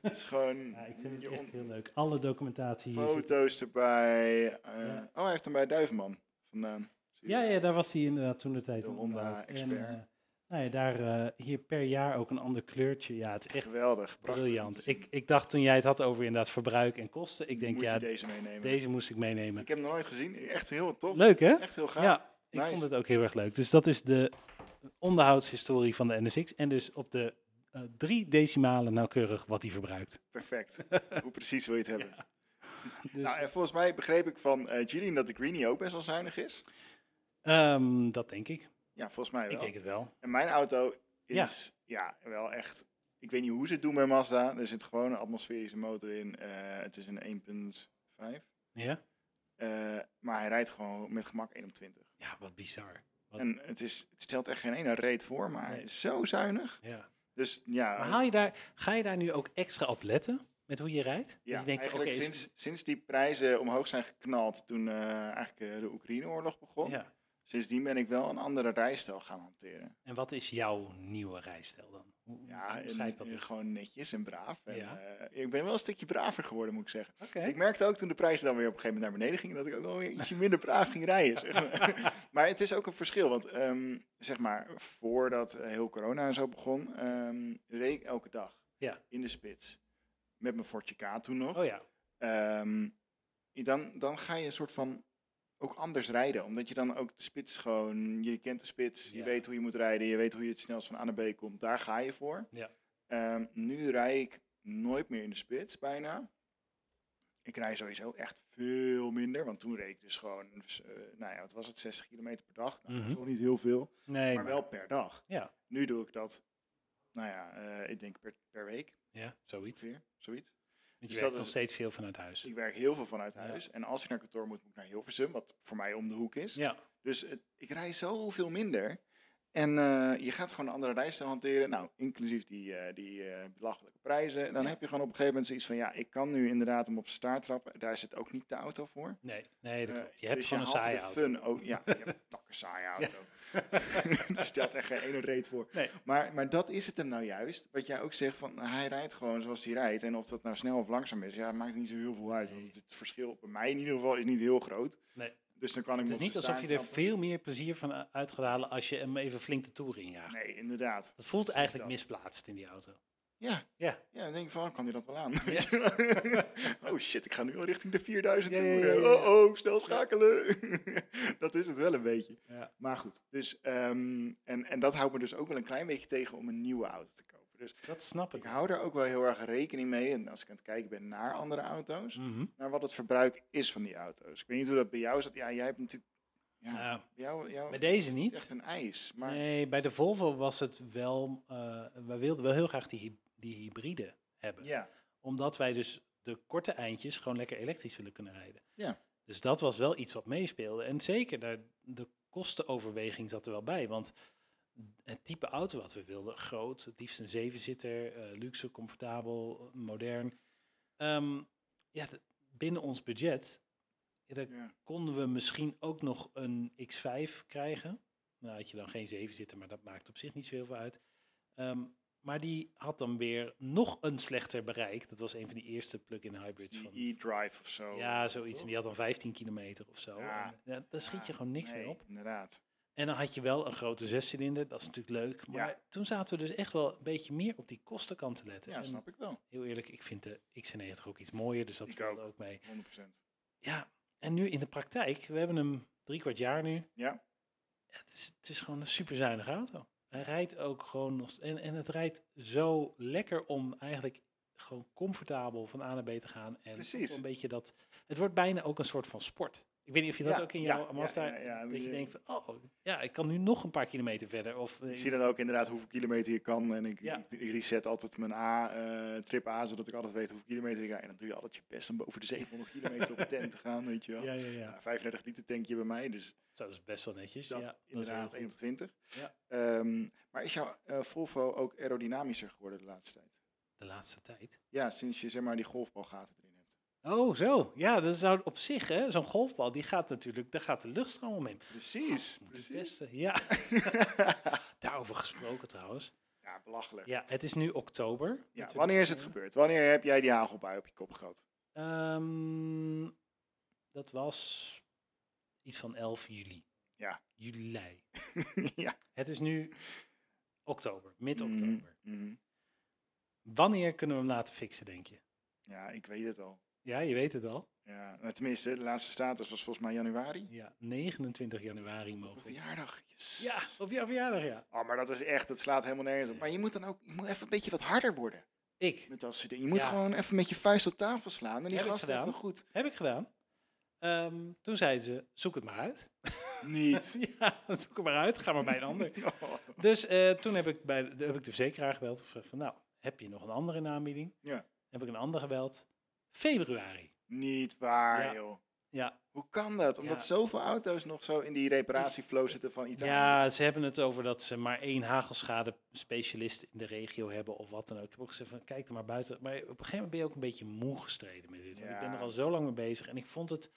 Het is gewoon Ja, ik vind het jong. echt heel leuk. Alle documentatie hier zit. foto's erbij. eh, Ja. Oh, hij heeft hem bij Duivenman vandaan. Zie je. Ja, ja, daar was hij inderdaad toen de tijd De in Honda onderhoud. En, Expert. eh, nou ja, daar eh, hier per jaar ook een ander kleurtje. Ja, het is echt Geweldig, prachtig. om briljant. te zien. Ik, ik dacht toen jij het had over inderdaad verbruik en kosten. Ik denk, Moet ja, je deze meenemen. deze moest ik meenemen. Ik heb hem nog nooit gezien. Echt heel tof. Leuk hè? Echt heel gaaf. Ja, ik Nice. vond het ook heel erg leuk. Dus dat is de onderhoudshistorie van de NSX. En dus op de eh, drie decimalen nauwkeurig wat hij verbruikt. Perfect. Hoe precies wil je het hebben? Dus, Nou, en volgens mij begreep ik van eh Julian dat de Greenie ook best wel zuinig is. ehm, dat denk ik. Ja, volgens mij wel. Ik denk het wel. En mijn auto Ja. is ja. wel echt. Ik weet niet hoe ze het doen bij Mazda. Er zit gewoon een atmosferische motor in. Eh, het is een 1.5. Ja? Eh, maar hij rijdt gewoon met gemak 1 op 20. Ja, wat bizar. Wat- En het, is, het stelt echt geen ene reet voor, maar hij Nee. is zo zuinig. ja. Dus ja, Maar haal je daar, ga je daar nu ook extra op letten met hoe je rijdt? ja dat je denkt, van, oké, eigenlijk is- sinds, sinds die prijzen omhoog zijn geknald toen eh, eigenlijk eh, de Oekraïne-oorlog begon. ja. Sindsdien ben ik wel een andere rijstijl gaan hanteren. En wat is jouw nieuwe rijstijl dan? Hoe, hoe Ja, en, beschrijf dat en eens? gewoon netjes en braaf. En, Ja. eh, ik ben wel een stukje braver geworden, moet ik zeggen. Oké. Ik merkte ook toen de prijzen dan weer op een gegeven moment naar beneden gingen, dat ik ook wel weer ietsje minder braaf ging rijden. zeg maar. maar het is ook een verschil, want ehm, zeg maar, voordat eh, heel corona en zo begon, ehm, reed ik elke dag Ja. in de spits. Met mijn Fortje K toen nog. Oh ja. Ehm, dan, dan ga je een soort van ook anders rijden. Omdat je dan ook de spits gewoon... Je kent de spits, je Ja. weet hoe je moet rijden. Je weet hoe je het snelst van A naar B komt. Daar ga je voor. Ja. Ehm, nu rij ik nooit meer in de spits, bijna. Ik rij sowieso echt veel minder. Want toen reed ik dus gewoon... eh, nou ja, wat was het? 60 kilometer per dag. Nou, dat Mhm. is nog niet heel veel. Nee, Maar maar wel per dag. Ja. Nu doe ik dat... Nou ja, eh, ik denk per, per week ja, zoiets. ongeveer. Zoiets. Want Dus dat je werkt is- nog steeds veel vanuit huis. Ik werk heel veel vanuit Ja. huis. En als ik naar kantoor moet, moet ik naar Hilversum, wat voor mij om de hoek is. Ja, Dus het- ik rij zoveel minder. En eh, je gaat gewoon een andere rijstijl hanteren. Nou, inclusief die, eh, die eh, belachelijke prijzen. En dan heb je gewoon op een gegeven moment zoiets van... Ja, ik kan nu inderdaad hem op zijn staart trappen. Daar zit ook niet de auto voor. Nee, nee, dat Eh, klopt. Je hebt dus gewoon een haalt saaie de auto. fun ook. Ja, je hebt een takken saaie auto. Het stelt echt geen ene reet voor. Nee. Maar, maar dat is het hem nou juist. Wat jij ook zegt, van, hij rijdt gewoon zoals hij rijdt. En of dat nou snel of langzaam is, ja, maakt niet zo heel veel uit. Want het het verschil bij mij in ieder geval is niet heel groot. Nee. Dus dan kan ik Het is niet alsof je er veel meer plezier van eh, uit gaat halen als je hem even flink de toer injaagt. Nee, inderdaad. Dat voelt is eigenlijk dat. misplaatst in die auto. Ja, Ja. ja dan denk ik van, kan hij dat wel aan? oh shit, ik ga nu al richting de 4000 Ja, ja, toeren. ja, ja. Oh, oh, snel schakelen. dat is het wel een beetje. Ja. Maar goed, dus, ehm, en, en dat houdt me dus ook wel een klein beetje tegen om een nieuwe auto te kopen. Dus Dat snap ik. ik hou er ook wel heel erg rekening mee. En als ik aan het kijken ben naar andere auto's, Mhm. naar wat het verbruik is van die auto's. Ik weet niet hoe dat bij jou zat. Ja, jij hebt natuurlijk. Ja, Nou, bij jou, jou bij deze is het niet. Echt een ijs. Maar Nee, bij de Volvo was het wel. eh we wilden wel heel graag die, hy- die hybride hebben. ja, Omdat wij dus de korte eindjes gewoon lekker elektrisch willen kunnen rijden. Ja. Dus dat was wel iets wat meespeelde. En zeker daar, de kostenoverweging zat er wel bij. Want het type auto wat we wilden, groot, het liefst een zevenzitter, eh, luxe, comfortabel, modern. Ehm, ja, d- binnen ons budget ja, daar ja, konden we misschien ook nog een X5 krijgen. Nou had je dan geen 7 zitten, maar dat maakt op zich niet zo heel veel uit. Ehm, maar die had dan weer nog een slechter bereik. Dat was een van die eerste plug-in hybrids van. die e-drive of zo. Ja, zoiets. En toch? die had dan 15 kilometer of zo. Ja. En, ja, daar schiet je Ja, gewoon niks nee, meer op. Inderdaad. En dan had je wel een grote zescilinder. Dat is natuurlijk leuk. Maar Ja. toen zaten we dus echt wel een beetje meer op die kostenkant te letten. Ja, En snap ik wel. heel eerlijk, ik vind de X90 ook iets mooier. Dus dat Ik speelde ook. ook mee. 100%. Ja, en nu in de praktijk, we hebben hem drie kwart jaar nu. Ja, Ja, het, is, het is gewoon een superzuinige auto. Hij rijdt ook gewoon nog. st- En, en het rijdt zo lekker om eigenlijk gewoon comfortabel van A naar B te gaan. En Precies. ook een beetje dat. Het wordt bijna ook een soort van sport. Ik weet niet of je dat Ja, ook in ja, jouw ja, Mazda. ja, ja, dat je die- eh, denkt van, oh ja, ik kan nu nog een paar kilometer verder. Of eh, ik zie dan ook inderdaad hoeveel kilometer je kan. En ik, Ja. ik- ik reset altijd mijn A, eh, trip A, zodat ik altijd weet hoeveel kilometer ik ga. En dan doe je altijd je best om boven de 700 kilometer op de tent te gaan, weet je wel. ja, ja, ja. Nou, 35 liter tankje bij mij, dus Dat is best wel netjes. dat ja, dat is heel inderdaad goed. 21. Ja. Ehm, maar is jouw eh, Volvo ook aerodynamischer geworden de laatste tijd? De laatste tijd. Ja, sinds je zeg maar die golfbalgaten erin hebt. Oh, zo. Ja, dat zou op zich, hè. Zo'n golfbal, die gaat natuurlijk, daar gaat de luchtstroom omheen. Precies. Moeten testen, ja. Daarover gesproken trouwens. Ja, belachelijk. Ja, het is nu oktober. Ja, Natuurlijk. wanneer is het gebeurd? Wanneer heb jij die hagelbui op je kop gehad? Ehm, dat was iets van 11 juli. Ja. Juli. ja. Het is nu oktober, mid-oktober. Mm, mhm. Wanneer kunnen we hem laten fixen, denk je? Ja, ik weet het al. Ja, je weet het al. Ja, nou, tenminste, de laatste status was volgens mij januari. Ja, 29 januari Op mogen we. verjaardag. Yes. Ja, op jouw verjaardag, ja. Oh, maar dat is echt, dat slaat helemaal nergens op. Maar je moet dan ook, je moet even een beetje wat harder worden Ik. met dat soort dingen. Je moet Ja. gewoon even met je vuist op tafel slaan en die Heb ik gasten gedaan. even goed. Heb ik gedaan. Ehm, toen zeiden ze, zoek het maar uit. Niet. Oh, ja, zoek het maar uit. Ga maar bij een ander. Dus eh, toen heb ik, bij, de- heb ik de verzekeraar gebeld. Of van, nou, heb je nog een andere in aanbieding? Ja. Heb ik een ander gebeld. Februari. Niet waar, Ja. joh. Ja, Hoe kan dat? Omdat Ja. zoveel auto's nog zo in die reparatieflow zitten van Italië. ja, ze hebben het over dat ze maar één hagelschade specialist in de regio hebben of wat dan ook. Ik heb ook gezegd van kijk er maar buiten. Maar op een gegeven moment ben je ook een beetje moe gestreden met dit. Want ik ben Ja. er al zo lang mee bezig. En ik vond het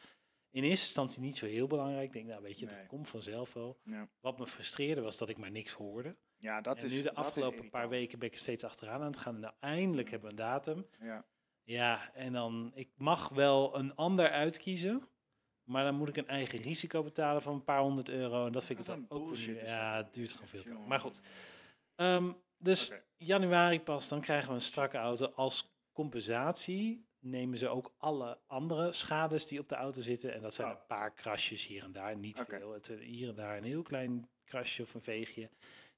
in eerste instantie niet zo heel belangrijk. Ik denk, nou weet je, Nee. dat komt vanzelf wel. Ja. Wat me frustreerde was dat ik maar niks hoorde. Ja, dat en is nu de dat is afgelopen paar irritant. weken ben ik er steeds achteraan aan het gaan. En nou, eindelijk hebben we een datum. Ja. Ja, en dan, ik mag wel een ander uitkiezen, maar dan moet ik een eigen risico betalen van een paar honderd euro. En dat vind ik Wat dan een ook weer bullshit niet- is Ja, dat. het duurt gewoon veel te lang. Jongen. Maar goed, Ehm, dus Oké. januari pas, dan krijgen we een strakke auto. Als compensatie nemen ze ook alle andere schades die op de auto zitten. En dat zijn Oh. een paar krasjes hier en daar, niet Oké. veel. Het, eh, hier en daar een heel klein krasje of een veegje.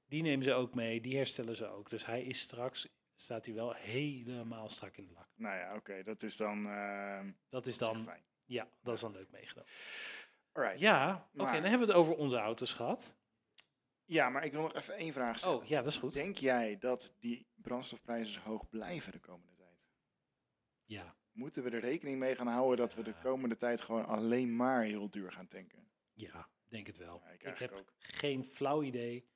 Die nemen ze ook mee, die herstellen ze ook. Dus hij is straks, staat hij wel helemaal strak in de lak. Nou ja, oké, dat is dan, ehm, op Dat is zich dan, fijn. ja, dat is dan leuk meegenomen. Alright. Ja. Ja, oké, Maar- dan hebben we het over onze auto's gehad. maar ik wil nog even één vraag stellen. Oh, ja, dat is goed. Denk jij dat die brandstofprijzen hoog blijven de komende tijd? Ja, Moeten we er rekening mee gaan houden dat we de Ja. komende tijd gewoon alleen maar heel duur gaan tanken? ja, denk het wel. Ja, ik ik heb eigenlijk ook. geen flauw idee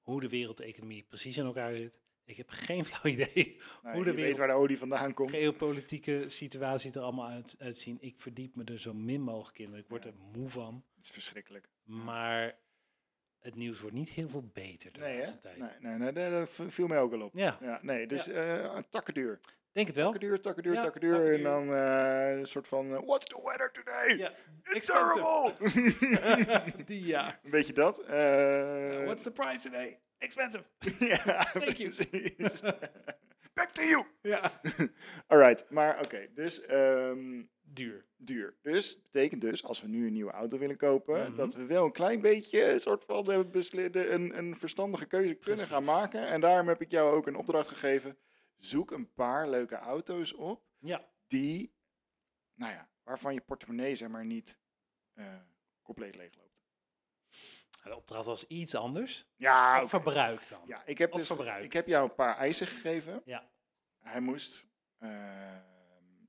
hoe de wereldeconomie precies in elkaar zit. Ik heb geen flauw idee Nee, hoe Nou, je de weet wereld, waar de olie vandaan komt. geopolitieke situatie er allemaal uit, uitzien. Ik verdiep me er zo min mogelijk in. want Ik word Ja. er moe van. Het is verschrikkelijk. Maar het nieuws wordt niet heel veel beter de Nee, hè? laatste tijd. Nee, nee, nee, nee, dat v- viel mij ook al op. Ja, Ja, nee, dus Ja. eh, takkenduur. denk het wel. Takkenduur, takkenduur, Ja, takkenduur. En takkenduur. dan eh, een soort van, eh, what's the weather today? Ja, It's expensive. terrible! Die ja. Een beetje dat. eh, What's the price today? Expensive. ja, Thank you. precies. Back to you! Ja. Alright, maar oké, dus ehm, Duur. duur. Dus betekent dus, als we nu een nieuwe auto willen kopen, dat we wel een klein beetje een soort van eh, besli- de- een, een verstandige keuze kunnen Precies. gaan maken. En daarom heb ik jou ook een opdracht gegeven. Zoek een paar leuke auto's op Ja, die, nou ja, waarvan je portemonnee zeg maar niet eh, compleet leeg loopt. de opdracht was iets anders. Ja, Op verbruik dan. Ah, ja ik, heb op dus, verbruik. ik heb jou een paar eisen gegeven. Ja. Hij moest eh,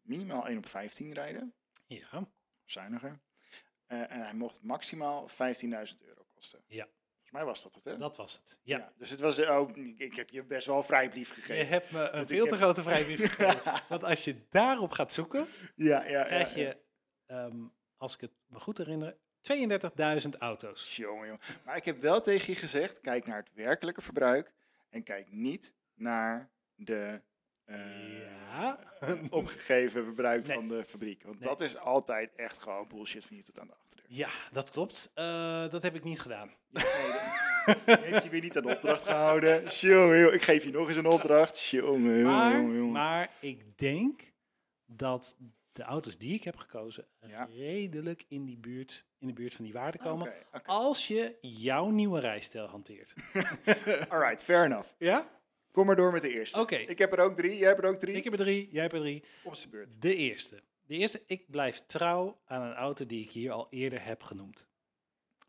minimaal 1 op 15 rijden, Ja. zuiniger. Eh, en hij mocht maximaal 15.000 euro kosten. Ja. Volgens mij was dat het, hè? Dat was het. Ja. dus het was, eh, oh, ik- ik heb je best wel een vrijbrief Je gegeven. hebt me een ik veel te heb- grote vrijbrief gegeven. Want als je daarop gaat zoeken, Ja, ja, ja. krijg ja. je, ehm, als ik het me goed herinner, 32.000 auto's. Jongen, jongen. Maar ik heb wel tegen je gezegd, kijk naar het werkelijke verbruik en kijk niet naar de eh, Ja. opgegeven verbruik Nee. van de fabriek. Want Nee. dat is altijd echt gewoon bullshit van hier tot aan de achterdeur. Ja, dat klopt. Eh, dat heb ik niet gedaan. Heeft je weer niet aan de opdracht gehouden? Jongen, jongen, ik geef je nog eens een opdracht. Jongen, jongen, Maar, jongen, jongen. maar ik denk dat de auto's die ik heb gekozen Ja. redelijk in, die buurt, in de buurt van die waarde komen. Oké, oké. Als je jouw nieuwe rijstijl hanteert. Alright, fair enough. ja? Kom maar door met de eerste. Oké. Ik heb er ook drie, jij hebt er ook drie. Ik heb Mm. er drie, jij hebt er drie. Op zijn beurt. De eerste. De eerste, ik blijf trouw aan een auto die ik hier al eerder heb genoemd.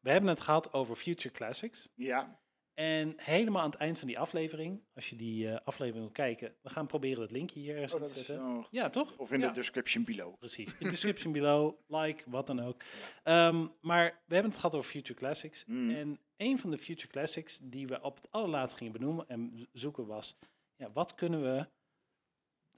We hebben het gehad over Future Classics. Ja, En helemaal aan het eind van die aflevering, als je die eh, aflevering wil kijken, we gaan proberen dat linkje hier ergens oh, in dat te is zetten. zo. Ja, toch? Of in ja. de description below. Precies. In de description below, like, wat dan ook. Ehm, maar we hebben het gehad over Future Classics. Mm. En een van de Future Classics die we op het allerlaatst gingen benoemen en z- zoeken was... Ja, wat kunnen we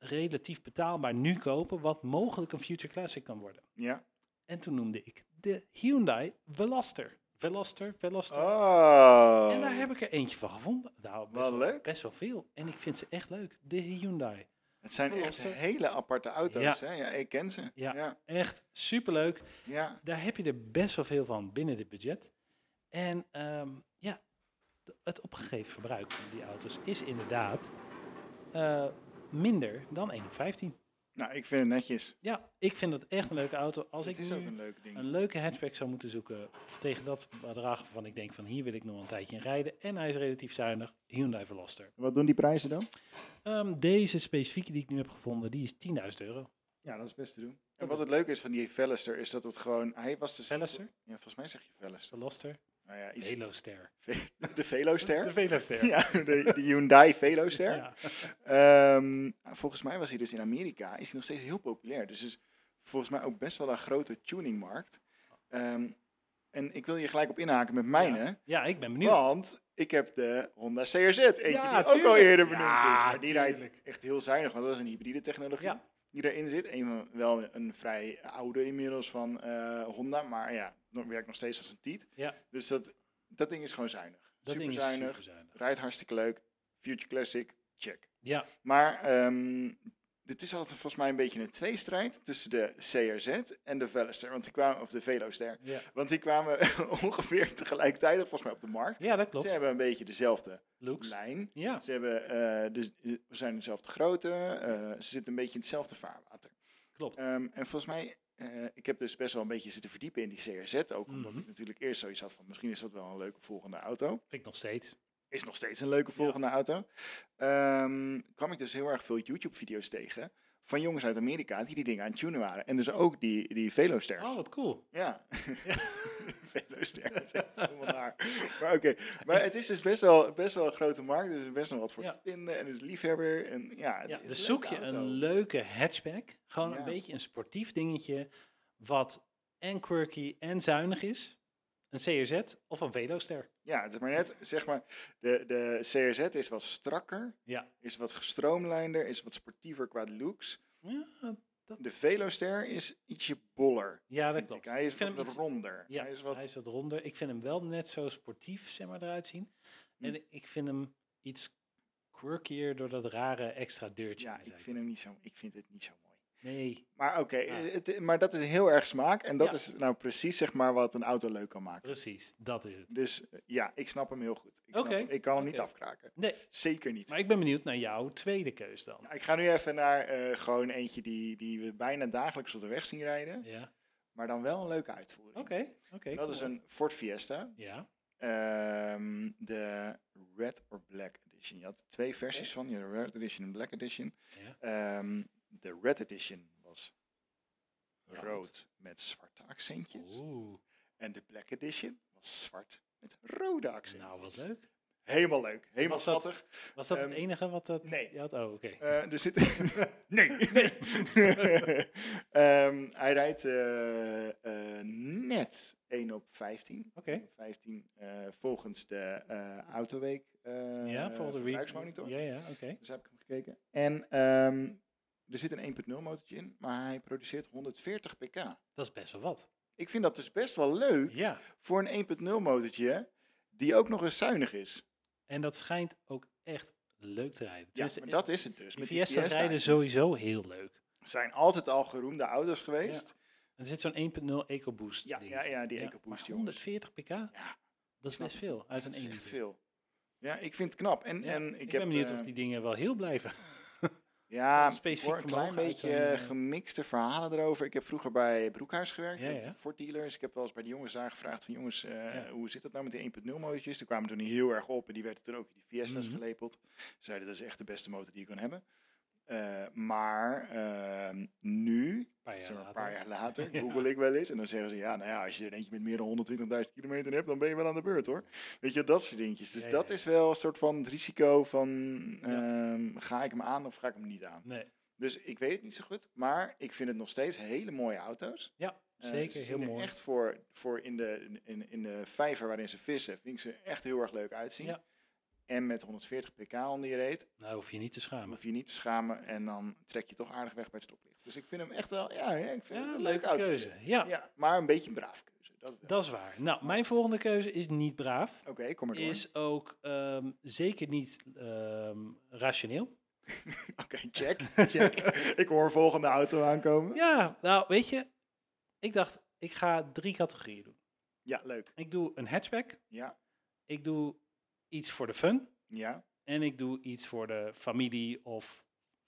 relatief betaalbaar nu kopen wat mogelijk een Future Classic kan worden? Ja. En toen noemde ik de Hyundai Veloster. Veloster, Veloster. Oh. En daar heb ik er eentje van gevonden. Nou, best Wel leuk. Best wel veel. En ik vind ze echt leuk. De Hyundai. Het zijn echt Verlossen. hele aparte auto's. Ja. Hè? ja, ik ken ze. Ja, ja. echt superleuk. ja. daar heb je er best wel veel van binnen dit budget. En ehm, ja, d- het opgegeven verbruik van die auto's is inderdaad eh, minder dan 1 op 15. Nou, ik vind het netjes. Ja, ik vind dat echt een leuke auto. Als Het ik is nu ook een leuk ding. een leuke hatchback zou moeten zoeken tegen dat bedrag waarvan ik denk van hier wil ik nog een tijdje in rijden. En hij is relatief zuinig, Hyundai Veloster. Wat doen die prijzen dan? Ehm, deze specifieke die ik nu heb gevonden, die is 10.000 euro. Ja, dat is best te doen. En wat het leuke is van die Veluster is dat het gewoon... Hij was dus... Veluster? Ja, volgens mij zeg je Veluster. Veloster, Nou ja, iets... Veloster. De Veloster? De Veloster. Ja, de, de Hyundai Veloster. Ja. Ehm, volgens mij was hij dus in Amerika, is hij nog steeds heel populair. Dus is volgens mij ook best wel een grote tuningmarkt. Ehm, en ik wil je gelijk op inhaken met mijne. Ja, ik ben benieuwd. Want ik heb de Honda CRZ, eentje Ja, die ook al tuurlijk. eerder benoemd is. Ja, Maar die rijdt tuurlijk. echt heel zuinig, want dat is een hybride technologie Ja. die daarin zit. Een, van- wel een vrij oude inmiddels van eh, Honda, maar ja, nog- werkt nog steeds als een tiet. Ja. Dus dat, dat ding is gewoon zuinig. Dat super ding is zuinig, superzuinig. rijdt hartstikke leuk. Future Classic, check. Ja, Maar ehm dit is altijd volgens mij een beetje een tweestrijd tussen de CRZ en de Veloster. Want die kwamen, of de Veloster. Ja. Want die kwamen ongeveer tegelijkertijd volgens mij op de markt. ja dat Ze klopt. hebben een beetje dezelfde Looks. lijn. Ja, Ze hebben, eh, de, ze zijn dezelfde grootte. eh, ze zitten een beetje in hetzelfde vaarwater. klopt. Ehm, en volgens mij, eh, ik heb dus best wel een beetje zitten verdiepen in die CRZ. Ook omdat ik natuurlijk eerst zoiets had van misschien is dat wel een leuke volgende auto Vind ik nog steeds. is nog steeds een leuke volgende auto. Ehm, kwam ik dus heel erg veel YouTube-video's tegen van jongens uit Amerika die die dingen aan het tunen waren. En dus ook die, die Veloster. Oh, wat cool. Ja. Veloster, dat is echt helemaal naar. Maar oké, maar het is dus best wel, best wel een grote markt. Er is best wel wat voor Ja. te vinden. En dus liefhebber. En ja, het Ja, is dus een zoek leuke je auto. een leuke hatchback. Gewoon Ja. een beetje een sportief dingetje. Wat en quirky en zuinig is. Een CRZ of een Veloster. Ja, het is maar net, zeg maar, de, de CRZ is wat strakker, Ja. is wat gestroomlijnder, is wat sportiever qua looks. Ja, dat, De Veloster is ietsje boller. ja, dat vind klopt. ik. Hij is Ik vind hem wat iets- ronder. Ja, hij is wat, ronder. Ik vind hem wel net zo sportief, zeg maar, eruit zien. Hm. En ik vind hem iets quirkier door dat rare extra deurtje. ja, aan de ik zijkant. vind, hem niet zo, ik vind het niet zo mooi. Nee, Maar oké, eh, Ja. het- maar dat is heel erg smaak. En dat Ja. is nou precies zeg maar wat een auto leuk kan maken. precies. Dat is het. Dus eh, ja, ik snap hem heel goed. Ik, snap Oké, hem. ik kan hem oké. niet afkraken. Nee, Zeker niet. Nou, maar ik ben benieuwd naar jouw tweede keus dan. Ik ga nu even naar eh, gewoon eentje die, die we bijna dagelijks op de weg zien rijden. Ja, Maar dan wel een leuke uitvoering. oké. oké. dat cool. is een Ford Fiesta. Ja, Ehm, de Red or Black Edition. Je had twee versies van. Je had de Red Edition en Black Edition. ja. Ehm, de Red Edition was Rood. rood, met zwarte accentjes. Oeh, En de Black Edition was zwart met rode accentjes. nou wat leuk. Helemaal leuk. Helemaal Was dat- schattig. Was dat het Ehm, enige wat dat... nee. je had? Oh, oké. Eh, er zit... nee. nee. Ehm, hij rijdt eh, eh, net 1 op 15. Oké. 15 eh, volgens de eh, Autoweek eh ja, volgens de re- verbruiksmonitor. Ja, ja, oké. Dus heb ik hem gekeken. En ehm, er zit een 1.0 motortje in, maar hij produceert 140 pk. Dat is best wel wat. Ik vind dat dus best wel leuk Ja, voor een 1.0 motortje die ook nog eens zuinig is. en dat schijnt ook echt leuk te rijden. Ja, Dus maar dat is het dus. die Met Fiesta's rijden Fiesta's sowieso heel leuk. zijn altijd al geroemde auto's geweest. Er zit zo'n 1.0 EcoBoost. Ja, ding. ja, ja, die maar EcoBoost, jongens. 140 pk? Ja, Dat is best veel uit een dat is 1 echt veel. Ja, ik vind het knap. En, en ik, ik, heb, ben benieuwd eh, of die dingen wel heel blijven. ja, specifiek voor een klein vermogen uit beetje zo'n, eh, gemixte verhalen erover. Ik heb vroeger bij Broekhuis gewerkt, Ja, met ja. Ford dealers. Ik heb wel eens bij de jongens daar gevraagd van jongens, eh, Ja. hoe zit dat nou met die 1.0 motortjes? Die kwamen toen heel erg op en die werden toen ook in die Fiesta's Mhm. gelepeld. Ze zeiden dat is echt de beste motor die je kan hebben. Eh, maar ehm, nu Een paar jaar Zeg maar, een later. paar jaar later google ik wel eens. En dan zeggen ze, ja, nou ja, als je er eentje met meer dan 120.000 kilometer hebt, dan ben je wel aan de beurt hoor. Weet je, dat soort dingetjes. Dus Ja, ja, dat ja. is wel een soort van het risico van, Ja. ehm, ga ik hem aan of ga ik hem niet aan? Nee. Dus ik weet het niet zo goed, maar ik vind het nog steeds hele mooie auto's. Ja, Eh, zeker. ze zien heel er mooi. echt voor, voor in, de, in, in de vijver waarin ze vissen, vind ik ze echt heel erg leuk uitzien. Ja. En met 140 pk onder je reet, Nou, hoef je niet te schamen. hoef je niet te schamen en dan trek je toch aardig weg bij het stoplicht. Dus ik vind hem echt wel, ja, ja, ik vind het Ja, leuke een leuke auto. keuze. Ja, Ja, maar een beetje een braaf keuze. Dat wel. dat is waar. Nou, mijn volgende keuze is niet braaf. Oké, kom maar door. Is ook ehm, zeker niet ehm, rationeel. Oké, check, check. ik hoor volgende auto aankomen. Ja, Ja, nou, weet je. Ik dacht, ik ga drie categorieën doen. leuk. Ik doe een hatchback. Ja, Ik doe iets voor de fun. ja. En ik doe iets voor de familie of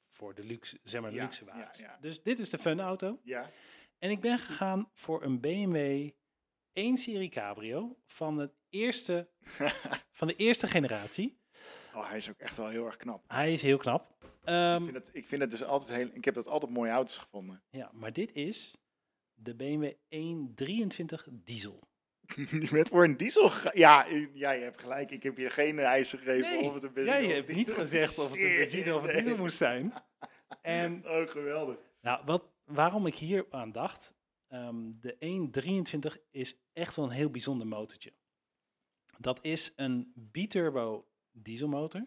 voor de luxe, zeg maar, de Ja, luxe wagens. ja, ja. Dus dit is de fun auto. Ja, En ik ben gegaan voor een BMW 1 Serie Cabrio van, het eerste, van de eerste generatie. oh, hij is ook echt wel heel erg knap. Hij is heel knap. Ehm, Ik vind het, ik vind het dus altijd heel... Ik heb dat altijd mooie auto's gevonden. ja, maar dit is de BMW 123 diesel. Je bent voor een diesel gegaan. Ja, i- ja, je hebt gelijk. Ik heb je geen eis gegeven of het een benzine jij of hebt diesel- niet gezegd of het een benzine of een Nee. diesel moest zijn. En Oh, geweldig. Nou, wat, waarom ik hier aan dacht, ehm, de 123 is echt wel een heel bijzonder motortje. Dat is een biturbo dieselmotor,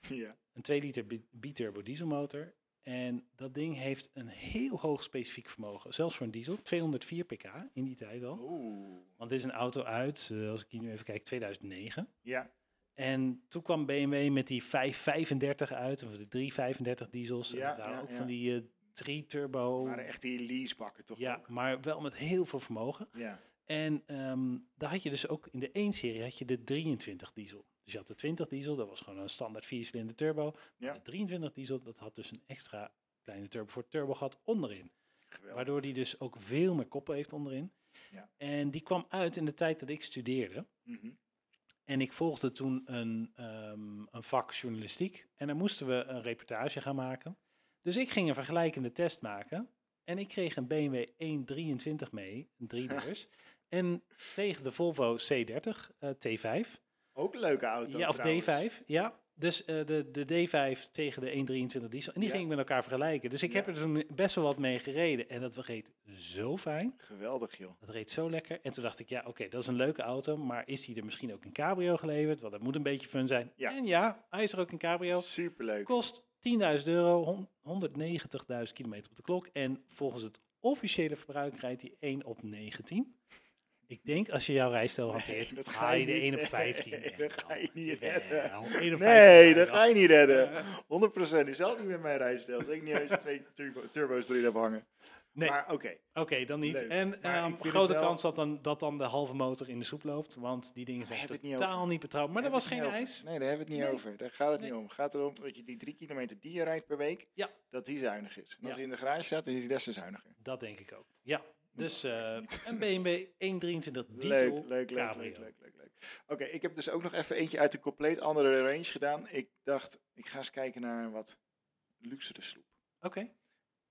Ja. een 2 liter bi- biturbo dieselmotor. En dat ding heeft een heel hoog specifiek vermogen, zelfs voor een diesel, 204 pk in die tijd al. Oeh. Want dit is een auto uit, eh, als ik hier nu even kijk, 2009. Ja, En toen kwam BMW met die 535 uit, of de 335 diesels. Ja, Ja, dat waren ja, ook ja. van die eh 3 turbo. waren echt die leasebakken toch Ja, ook? maar wel met heel veel vermogen. Ja. En ehm, daar had je dus ook in de 1-serie had je de 23 diesel. Dus je had de 20 diesel, dat was gewoon een standaard 4-cilinder turbo. Maar Ja. De 23 diesel, dat had dus een extra kleine turbo voor het turbogat onderin. Geweldig. Waardoor die dus ook veel meer koppen heeft onderin. Ja. En die kwam uit in de tijd dat ik studeerde. Mhm. En ik volgde toen een, ehm, een vak journalistiek. En daar moesten we een reportage gaan maken. Dus ik ging een vergelijkende test maken. En ik kreeg een BMW 123 mee, een driedeurs. en tegen de Volvo C30 eh, T5. Ook een leuke auto ja, of trouwens. D5. Ja, Dus eh, de, de D5 tegen de 123 diesel. En die Ja. ging ik met elkaar vergelijken. Dus ik heb Ja. er toen best wel wat mee gereden. En dat reed zo fijn. Geweldig, joh. Dat reed zo lekker. En toen dacht ik, ja, oké, dat is een leuke auto. Maar is die er misschien ook in cabrio geleverd? Want dat moet een beetje fun zijn. Ja. En ja, hij is er ook in cabrio. Superleuk. Kost 10.000 euro, hon- 190.000 kilometer op de klok. En volgens het officiële verbruik rijdt hij 1 op 19. Ik denk als je jouw rijstijl hanteert, dat ga haal je je de niet. 1 op 15. Nee, echt dat ga wel. je niet Jawel, 1 op 15 Nee, wel. dat ga je niet redden. 100% is zelf niet met mijn rijstijl. Dat ik niet eens twee turbo- turbo's erin heb hangen. Nee. Maar oké. Oké, dan niet. Leuk. Maar En ik ehm, vind het grote wel- kans dat dan, dat dan de halve motor in de soep loopt. Want die dingen zijn hebben het niet totaal over. niet, betrouwbaar. Maar er was Hebben we het geen niet over. ijs. Nee, daar hebben we het niet Nee. over. Daar gaat het niet Nee. om. Het gaat erom dat je die drie kilometer die je rijdt per week, Ja, dat die zuinig is. En als Ja. die in de garage staat, dan is die des te zuiniger. dat denk ik ook. Ja, dus eh, niet. een BMW 123 diesel Leuk, leuk, leuk, leuk, cabrio. leuk, leuk, leuk. Oké, ik heb dus ook nog even eentje uit een compleet andere range gedaan. Ik dacht, ik ga eens kijken naar een wat luxere sloep. Oké,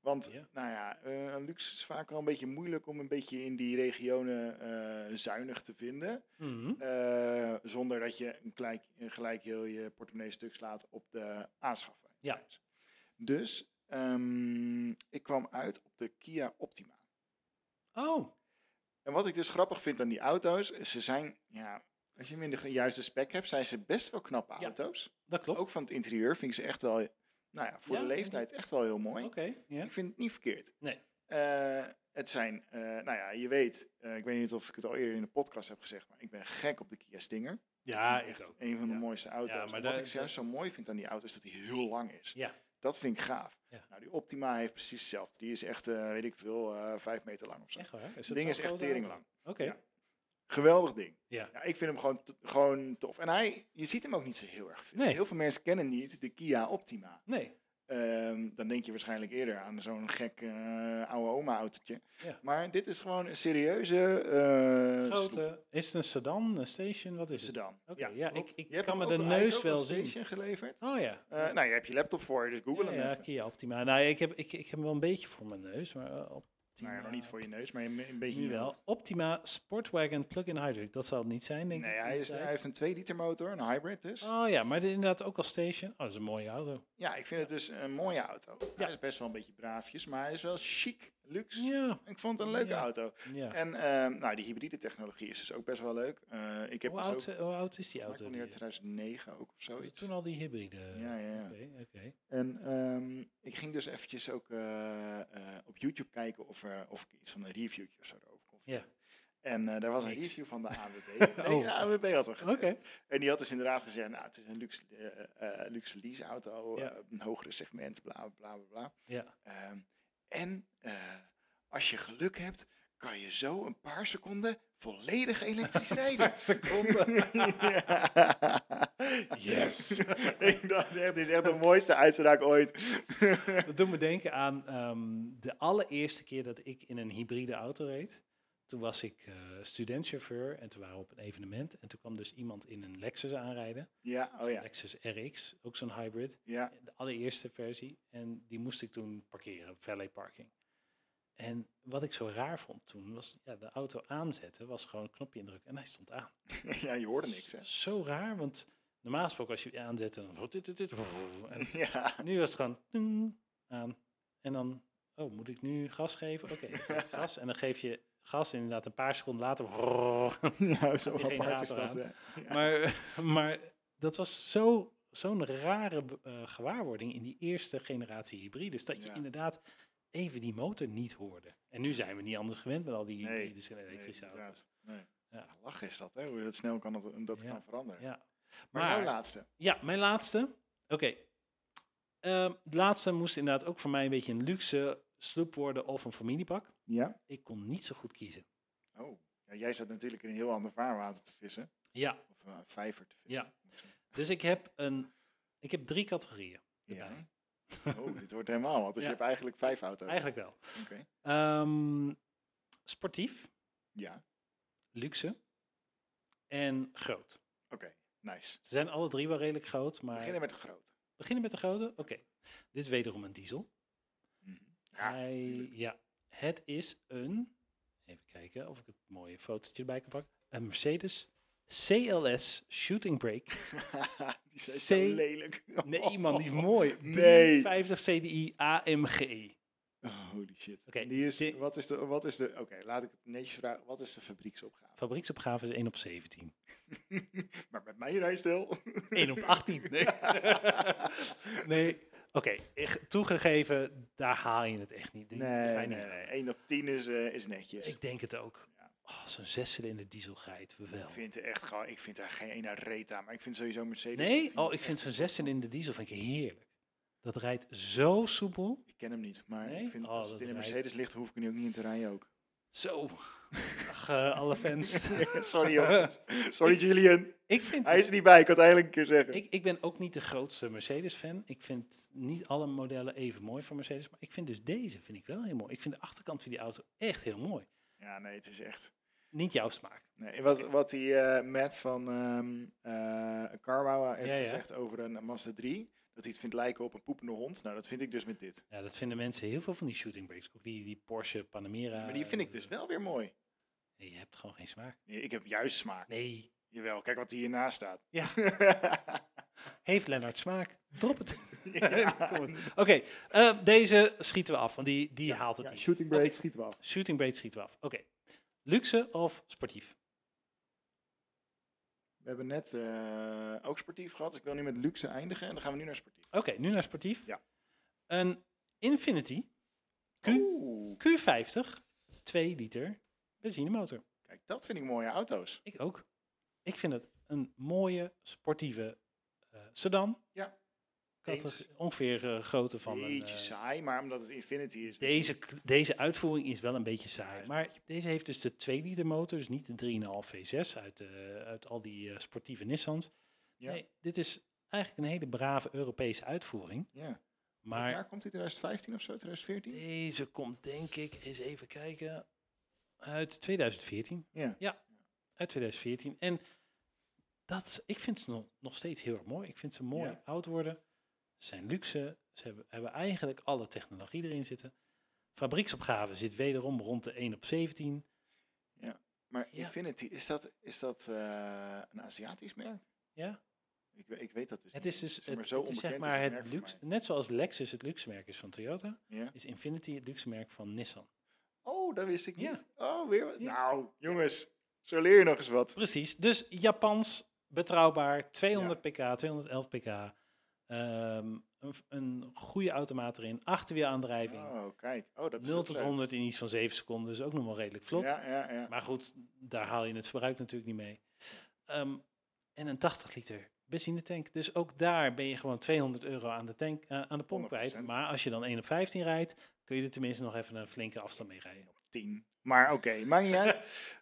Want, Ja. nou ja, eh, een luxe is vaak wel een beetje moeilijk om een beetje in die regionen eh, zuinig te vinden. Mhm. Eh, zonder dat je een gelijk, een gelijk heel je portemonnee stuk slaat op de aanschaf. Ja. Dus ehm, ik kwam uit op de Kia Optima. Oh, En wat ik dus grappig vind aan die auto's, is ze zijn, ja, als je hem in de ge- juiste spec hebt, zijn ze best wel knappe Ja, auto's. dat klopt. Ook van het interieur vind ik ze echt wel, nou ja, voor Ja, de leeftijd echt wel heel mooi. Oké, ja. Ik vind het niet verkeerd. Nee. Eh, het zijn, eh, nou ja, je weet, eh, ik weet niet of ik het al eerder in de podcast heb gezegd, maar ik ben gek op de Kia Stinger. Ja, echt ik ook. een van de Ja. mooiste auto's. Ja, maar En wat de- ik juist zo mooi vind aan die auto is dat hij heel lang is. Ja, Dat vind ik gaaf. Ja. Nou, die Optima heeft precies hetzelfde. Die is echt, eh, weet ik veel, eh, vijf meter lang of zo. echt waar. Is Het dat ding is zo'n echt grote tering auto? lang. Oké, Ja. Geweldig ding. ja. Ja, ik vind hem gewoon, t- gewoon tof. En hij, je ziet hem ook niet zo heel erg veel. Nee. Heel veel mensen kennen niet de Kia Optima. Nee, Ehm, dan denk je waarschijnlijk eerder aan zo'n gek eh, oude oma-autootje. Ja. Maar dit is gewoon een serieuze eh sloep. grote. Is het een sedan, een station? Wat is het? sedan. Oké, ja, klopt. ik- ik Je hebt kan hem me de ook- hij is neus ook als wel zien. station geleverd. Oh ja. Eh, nou, je hebt je laptop voor je, dus google Ja, hem ja, even. Kia Optima. Nou, ik heb, ik, ik heb hem wel een beetje voor mijn neus, maar eh, Optima. Nou ja, nog niet voor je neus, maar een een beetje in Nu je wel. hoofd. Optima Sportwagon Plug-in Hybrid. Dat zal het niet zijn, denk Nee, ik. in hij, die is, hij tijd. heeft een 2 liter motor, een hybrid dus. Oh ja, maar dit inderdaad ook als station. Oh, dat is een mooie auto. Ja, ik vind het dus een mooie auto. Ja. Hij is best wel een beetje braafjes, maar hij is wel chic, luxe. Ja. Ik vond het een leuke Ja. auto. ja. En ehm, nou, die hybride technologie is dus ook best wel leuk. Eh, ik heb Hoe, dus oud, ook, hoe oud is die volgens mij auto? kwam die uit 2009 ook of Was het zoiets. toen al die hybride? Ja, ja, ja. Oké, oké. En ehm, ik ging dus eventjes ook eh, eh, op YouTube kijken of, er, of ik iets van een reviewtje of zo erover kon Ja. En eh, daar was een Niks. review van de AWB. Nee, Oh. de AWB had er getest. Oké. En die had dus inderdaad gezegd, nou, het is een luxe, eh, eh, luxe leaseauto, Ja. eh, een hogere segment, bla, bla, bla, bla, bla. Ja. Ehm, en eh, als je geluk hebt, kan je zo een paar seconden volledig elektrisch rijden. Seconde. Ja. Yes. ik dacht echt, dit is echt de mooiste uitspraak ooit. Dat doet me denken aan ehm, de allereerste keer dat ik in een hybride auto reed. Toen was ik eh, studentchauffeur en toen waren we op een evenement. En toen kwam dus iemand in een Lexus aanrijden. ja, oh ja, Lexus RX, ook zo'n hybrid. ja. de allereerste versie. En die moest ik toen parkeren, valet parking. En wat ik zo raar vond toen was ja, de auto aanzetten, was gewoon een knopje indrukken en hij stond aan. ja, je hoorde niks, hè? Zo raar, want normaal gesproken als je hem aanzet, dan dit, dit, dit, en Ja, nu was het gewoon ding, aan. En dan, oh, moet ik nu gas geven? Oké, ik geef gas. En dan geef je gas inderdaad een paar seconden later. ja zo Die apart is generator dat. aan. hè. Maar, maar dat was zo, zo'n rare eh, gewaarwording in die eerste generatie hybrides. Dat je Ja. inderdaad even die motor niet hoorde. En nu zijn we niet anders gewend met al die Nee, hybrides en Nee, elektrische auto's. inderdaad. Nee. Ja. Ja, Lachen is dat, hè? Hoe je dat snel kan, dat, dat Ja. kan veranderen. Ja. Maar, nou Maar- jouw laatste. ja, mijn laatste. Oké. Ehm, de laatste moest inderdaad ook voor mij een beetje een luxe sloep worden of een familiepak. Ja? Ik kon niet zo goed kiezen. Oh. Ja, jij zat natuurlijk in een heel ander vaarwater te vissen. Ja, Of een vijver te vissen. ja. Dus ik heb, een, ik heb drie categorieën. erbij. Oh, dit wordt helemaal wat. Dus Ja. je hebt eigenlijk vijf auto's. Eigenlijk wel. Oké. Ehm, sportief. Ja, luxe en groot. oké. Nice. Ze zijn alle drie wel redelijk groot, We maar beginnen met de grote. beginnen met de grote. Oké, dit is wederom een diesel. Mm, Ja, Hij- natuurlijk. ja, het is een, even kijken of ik het mooie fotootje erbij kan pakken, een Mercedes CLS Shooting Brake. die zijn zo C- lelijk. Nee, man, die is mooi. Nee. 50 CDI AMG. Oh, holy shit. Oké, En die is, die- wat is de, wat is de, oké, laat ik het netjes vragen. Wat is de fabrieksopgave? Fabrieksopgave is 1 op 17. Maar met mijn rijstijl. 1 op 18. Nee. nee. Oké, echt toegegeven, daar haal je het echt niet. Die- die ga je Nee, nee, niet nee. halen. 1 op 10 is, eh, is netjes. Ik Ik denk het ook. Oh, Zo'n zescilinder diesel geit we wel. vind, er echt gewoon, ik vind daar geen ene reet aan, maar ik vind sowieso Mercedes. Nee? Oh, ik vind zo'n zescilinder diesel vind ik heerlijk. Dat rijdt zo soepel. Ik ken hem niet, maar Nee? ik vind, Oh, als dat het in een rijdt. Mercedes ligt, hoef ik er nu ook niet in te rijden ook. Zo. Ach, eh, alle fans. Sorry jongens. Sorry Julian. ik, vind Hij het- is er niet bij, ik had het eigenlijk een keer zeggen. ik, ik ben ook niet de grootste Mercedes-fan. Ik vind niet alle modellen even mooi van Mercedes. Maar ik vind dus deze vind ik wel heel mooi. Ik vind de achterkant van die auto echt heel mooi. Ja, nee, het is echt... Niet jouw smaak. Nee, wat, wat die eh, Matt van ehm eh, Carwow heeft Ja, ja. gezegd over een Mazda 3, dat hij het vindt lijken op een poepende hond. Nou, dat vind ik dus met dit. Ja, dat vinden mensen heel veel van die shooting breaks. Ook die, die Porsche Panamera. maar die vind ik dus wel weer mooi. Nee, je hebt gewoon geen smaak. Nee, ik heb juist smaak. Nee. Jawel, kijk wat hiernaast staat. Ja. Heeft Lennart smaak? Drop het. Ja. Kom het. Oké, eh, deze schieten we af, want die, die haalt het niet. shooting break schiet wel. Shooting break schieten we af. Oké. Luxe of sportief? We hebben net eh, ook sportief gehad, dus ik wil nu met luxe eindigen en dan gaan we nu naar sportief. Oké, nu naar sportief. Ja. Een Infinity Q, Oeh, Q50 2 liter benzinemotor. kijk, dat vind ik mooie auto's. Ik ook. Ik vind het een mooie sportieve eh, sedan. Ja. Categorie- Eens. Ongeveer eh, grootte van een, Beetje eh, saai, maar omdat het Infinity is. deze, k- deze uitvoering is wel een beetje saai. is Maar deze heeft dus de 2 liter motor, dus niet de 3,5 V6 uit, eh, uit al die eh, sportieve Nissans. Ja. Nee, dit is eigenlijk een hele brave Europese uitvoering. Ja. Maar Maar jaar komt hij 2015 of zo, 2014? deze komt denk ik, eens even kijken, uit 2014. Ja. Uit 2014. En dat, is- ik vind ze nog, nog steeds heel erg mooi. Ik vind ze mooi Ja. oud worden. Ze zijn luxe. Ze hebben, hebben eigenlijk alle technologie erin zitten. Fabrieksopgave zit wederom rond de 1 op 17. Maar Ja. Infinity, is dat, is dat eh, een Aziatisch merk? Ja, Ik, we- ik weet dat dus het niet. is dus Zeg maar, het, zo het is zeg onbekend maar merk het voor luxe. Net zoals Lexus het luxe merk is van Toyota, mij. Ja. is Infinity het luxe merk van Nissan. Oh, dat wist ik Ja. niet. Oh, weer wat. Ja. Nou, jongens, zo leer je nog eens wat. Precies. Dus Japans, betrouwbaar, 200 pk, 211 pk. ehm, een, v- een goede automaat erin, achterwielaandrijving. Oh, kijk. Oh, dat is 0 ook tot leuk. 100 in iets van 7 seconden, dus ook nog wel redelijk vlot. Ja, ja, ja. Maar goed, daar haal je het verbruik natuurlijk niet mee. Ehm, en een 80 liter benzinetank. Dus ook daar ben je gewoon 200 euro aan de, tank, eh, aan de pomp kwijt. 100%. Maar als je dan 1 op 15 rijdt, kun je er tenminste nog even een flinke afstand mee rijden. 10. Maar oké, maakt niet uit.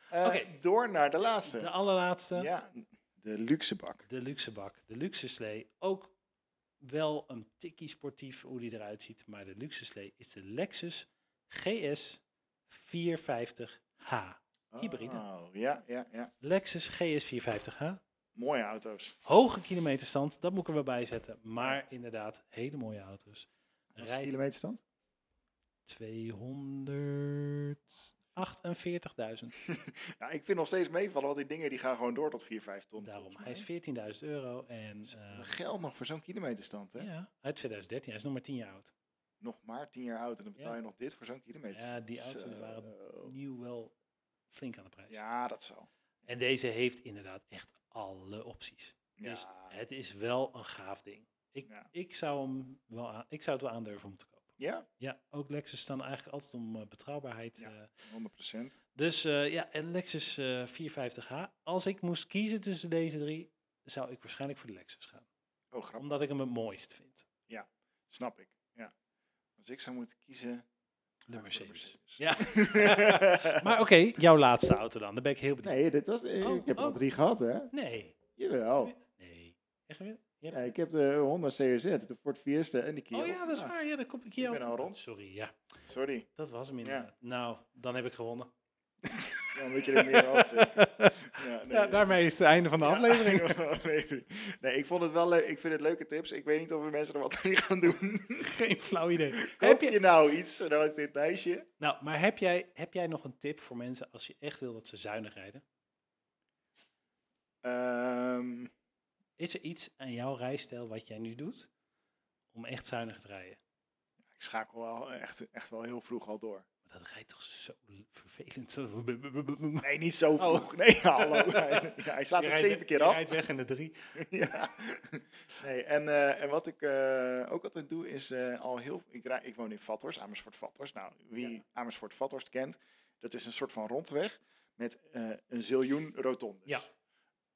Eh, Oké. Door naar de laatste. De allerlaatste. ja, de luxe bak. De luxe bak, de luxe slee. Ook wel een tikkie sportief hoe die eruit ziet. Maar de luxe slee is de Lexus GS 450H. Hybride. Oh, ja, ja, ja. Lexus GS 450H. Mooie auto's. Hoge kilometerstand, dat moet ik er wel bij zetten. Maar inderdaad, hele mooie auto's. Rijdt kilometerstand? 248.000. Ja, ik vind nog steeds meevallen, want die dingen die gaan gewoon door tot 4, 5 ton. Daarom, hij volgens is 14.000 euro. En mij. eh, Dat Geld nog voor zo'n kilometerstand, hè? ja, uit 2013, hij is nog maar 10 jaar oud. Nog maar 10 jaar oud en dan betaal je nog dit voor zo'n kilometerstand. Ja, die auto's Zo. waren nieuw wel flink aan de prijs. Ja, dat zal. En deze heeft inderdaad echt alle opties. Ja. Dus het is wel een gaaf ding. Ik, Ja. ik, zou, hem wel aan- ik zou het wel aandurven om te kopen. Ja, Ja, ook Lexus staan eigenlijk altijd om eh, betrouwbaarheid. Ja. eh. 100%. dus eh, ja, en Lexus eh, 450h. Als ik moest kiezen tussen deze drie, zou ik waarschijnlijk voor de Lexus gaan. Oh, grappig. Omdat ik hem het mooist vind. Snap ik. Ja. Als ik zou moeten kiezen. De Mercedes. Mercedes. Ja. maar oké, jouw laatste auto dan. Daar ben ik heel benieuwd. Nee, dit was, ik Oh, ik heb er al oh. drie gehad, hè? Nee. Jawel. Nee. Echt weer? Je hebt Ja, ik heb eh, de Honda CRZ, de Ford Fiesta en de Kia. Oh ja, dat is Ja. waar. Ja, dan kom ik hier Ik ben altijd al op. rond. Sorry, ja. Sorry. Dat was hem inderdaad. Nou, dan heb ik gewonnen. Ja, omdat je er meer had. Ja, nee, dus- daarmee is het einde van de aflevering. Nee, ik vond het wel leuk. Ik vind het leuke tips. Ik weet niet of de mensen er wat mee gaan doen. Geen flauw idee. Heb Heb je je, nou iets? Nou is dit lijstje. nou, maar heb jij, heb jij nog een tip voor mensen als je echt wil dat ze zuinig rijden? Ehm, Is er iets aan jouw rijstijl wat jij nu doet om echt zuinig te rijden? ik schakel wel echt, echt wel heel vroeg al door. Maar dat rijdt toch zo vervelend. Nee, niet zo Oh. vroeg. Nee, hallo. Ja, hij slaat Je ook rijdt- zeven keer je af. rijdt weg in de drie. Ja. Nee, en, eh, en wat ik eh, ook altijd doe is eh, al heel... Ik, rij- ik woon in Vathorst, Amersfoort-Vathorst. Nou, wie Amersfoort-Vathorst kent, dat is een soort van rondweg met eh, een ziljoen rotondes. Ja.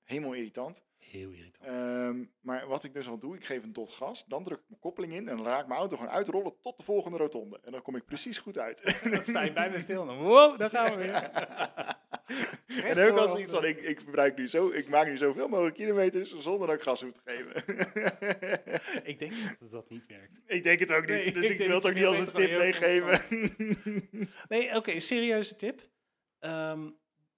Helemaal irritant. Heel irritant. Ehm, maar wat ik dus al doe, ik geef een dot gas, dan druk ik mijn koppeling in en dan raak ik mijn auto gewoon uitrollen tot de volgende rotonde. En dan kom ik precies goed uit. dan sta je bijna stil. en Dan, wow, daar gaan we weer. en dan heb ik altijd iets van, ik, ik, verbruik nu zo, ik maak nu zoveel mogelijk kilometers zonder dat ik gas hoef te geven. Ik denk echt dat dat niet werkt. Ik denk het ook niet, Nee, dus ik ik, denk wil het dat ook je niet als veel een tip beter gewoon heel meegeven. Nee, oké, serieuze tip. Ehm,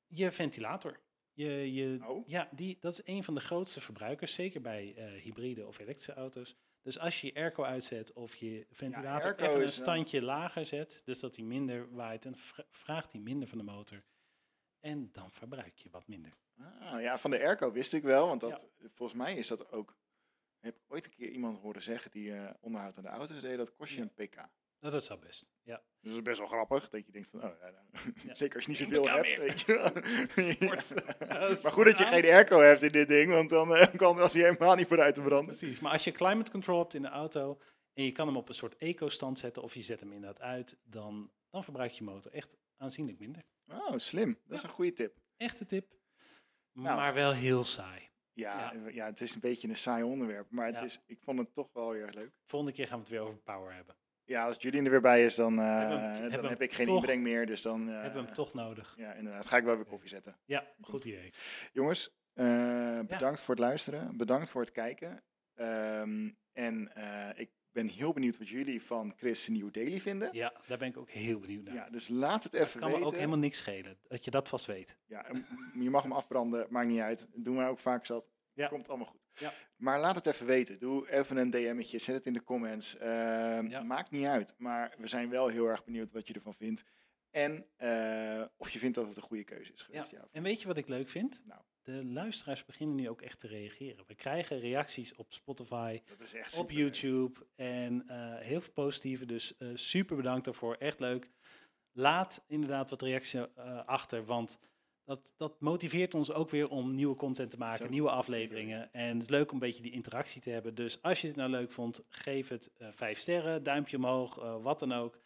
je ventilator. Je, je, Oh. Ja, die, dat is een van de grootste verbruikers, zeker bij eh, hybride of elektrische auto's. Dus als je je airco uitzet of je ventilator airco even een is een- standje lager zet, dus dat hij minder waait, dan vra- vraagt hij minder van de motor. En dan verbruik je wat minder. Ah, ja, van de airco wist ik wel, want dat, volgens mij is dat ook... Heb ik ooit een keer iemand horen zeggen die eh, onderhoud aan de auto's deed, dat kost je een pk. Nou, dat is al best. Ja. Dus dat is best wel grappig, dat je denkt van, oh, ja, nou, Ja. zeker als je niet Eén zoveel pk hebt. meer. Weet je wel. E. Sport. Ja. Dat is Maar goed dat je vooruit. geen airco hebt in dit ding, want dan eh, kan was hij helemaal niet vooruit te branden. Precies, maar als je climate control hebt in de auto en je kan hem op een soort eco-stand zetten of je zet hem inderdaad uit, dan, dan verbruik je motor echt aanzienlijk minder. Oh, slim. Dat is een goede tip. Echte tip, Nou. maar wel heel saai. Ja, Ja. ja. het is een beetje een saai onderwerp, maar het Ja. is, ik vond het toch wel heel erg leuk. Volgende keer gaan we het weer over power hebben. Ja, als Julian er weer bij is, dan, eh, Hebben we hem- hebben dan we heb hem ik geen toch- inbreng meer. Dus dan eh, Hebben we hem toch nodig? Ja, inderdaad. Ga ik wel weer koffie zetten. Ja, goed idee. Jongens, eh, bedankt voor het luisteren. Bedankt voor het kijken. Ehm, en eh, ik ben heel benieuwd wat jullie van Chris' New Daily vinden. Ja. Ja, daar ben ik ook heel benieuwd naar. dus laat het Het even kan me weten. ook helemaal niks schelen, dat je dat vast weet. ja, m- je mag hem afbranden, maakt niet uit. Doen we ook vaak zat. Ja. Komt allemaal goed. Ja. Maar laat het even weten. Doe even een DM'tje, zet het in de comments. Ehm, Ja. Maakt niet uit, maar we zijn wel heel erg benieuwd wat je ervan vindt. En eh, of je vindt dat het een goede keuze is Ja. geweest. of En weet je wat ik leuk vind? Nou. De luisteraars beginnen nu ook echt te reageren. We krijgen reacties op Spotify, Dat is echt op super. YouTube. En eh, heel veel positieve, dus eh, super bedankt daarvoor. Echt leuk. Laat inderdaad wat reacties eh, achter, want dat, dat motiveert ons ook weer om nieuwe content te maken, Zo, nieuwe afleveringen. En het is leuk om een beetje die interactie te hebben. Dus als je het nou leuk vond, geef het eh, vijf sterren, duimpje omhoog, eh, wat dan ook.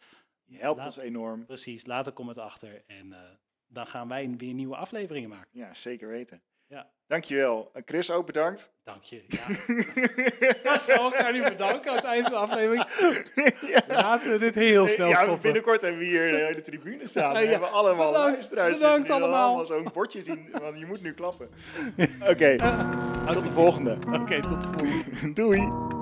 Je helpt Laat- ons enorm. Precies, laat een comment achter en eh, dan gaan wij weer nieuwe afleveringen maken. Ja, zeker weten. Ja, Dankjewel. En Chris ook bedankt. dank je. Ja. Gaan we elkaar nu nou bedanken aan het eind van de aflevering? ja. Laten we dit heel snel Eh, Ja, stoppen. binnenkort hebben we hier de hele tribune staan. Ja, We ja. hebben allemaal Bedankt, luisteraars bedankt zitten die dan allemaal. zo'n bordje zien, want je moet nu klappen. Oké, tot de Oké, volgende. tot de volgende. Doei.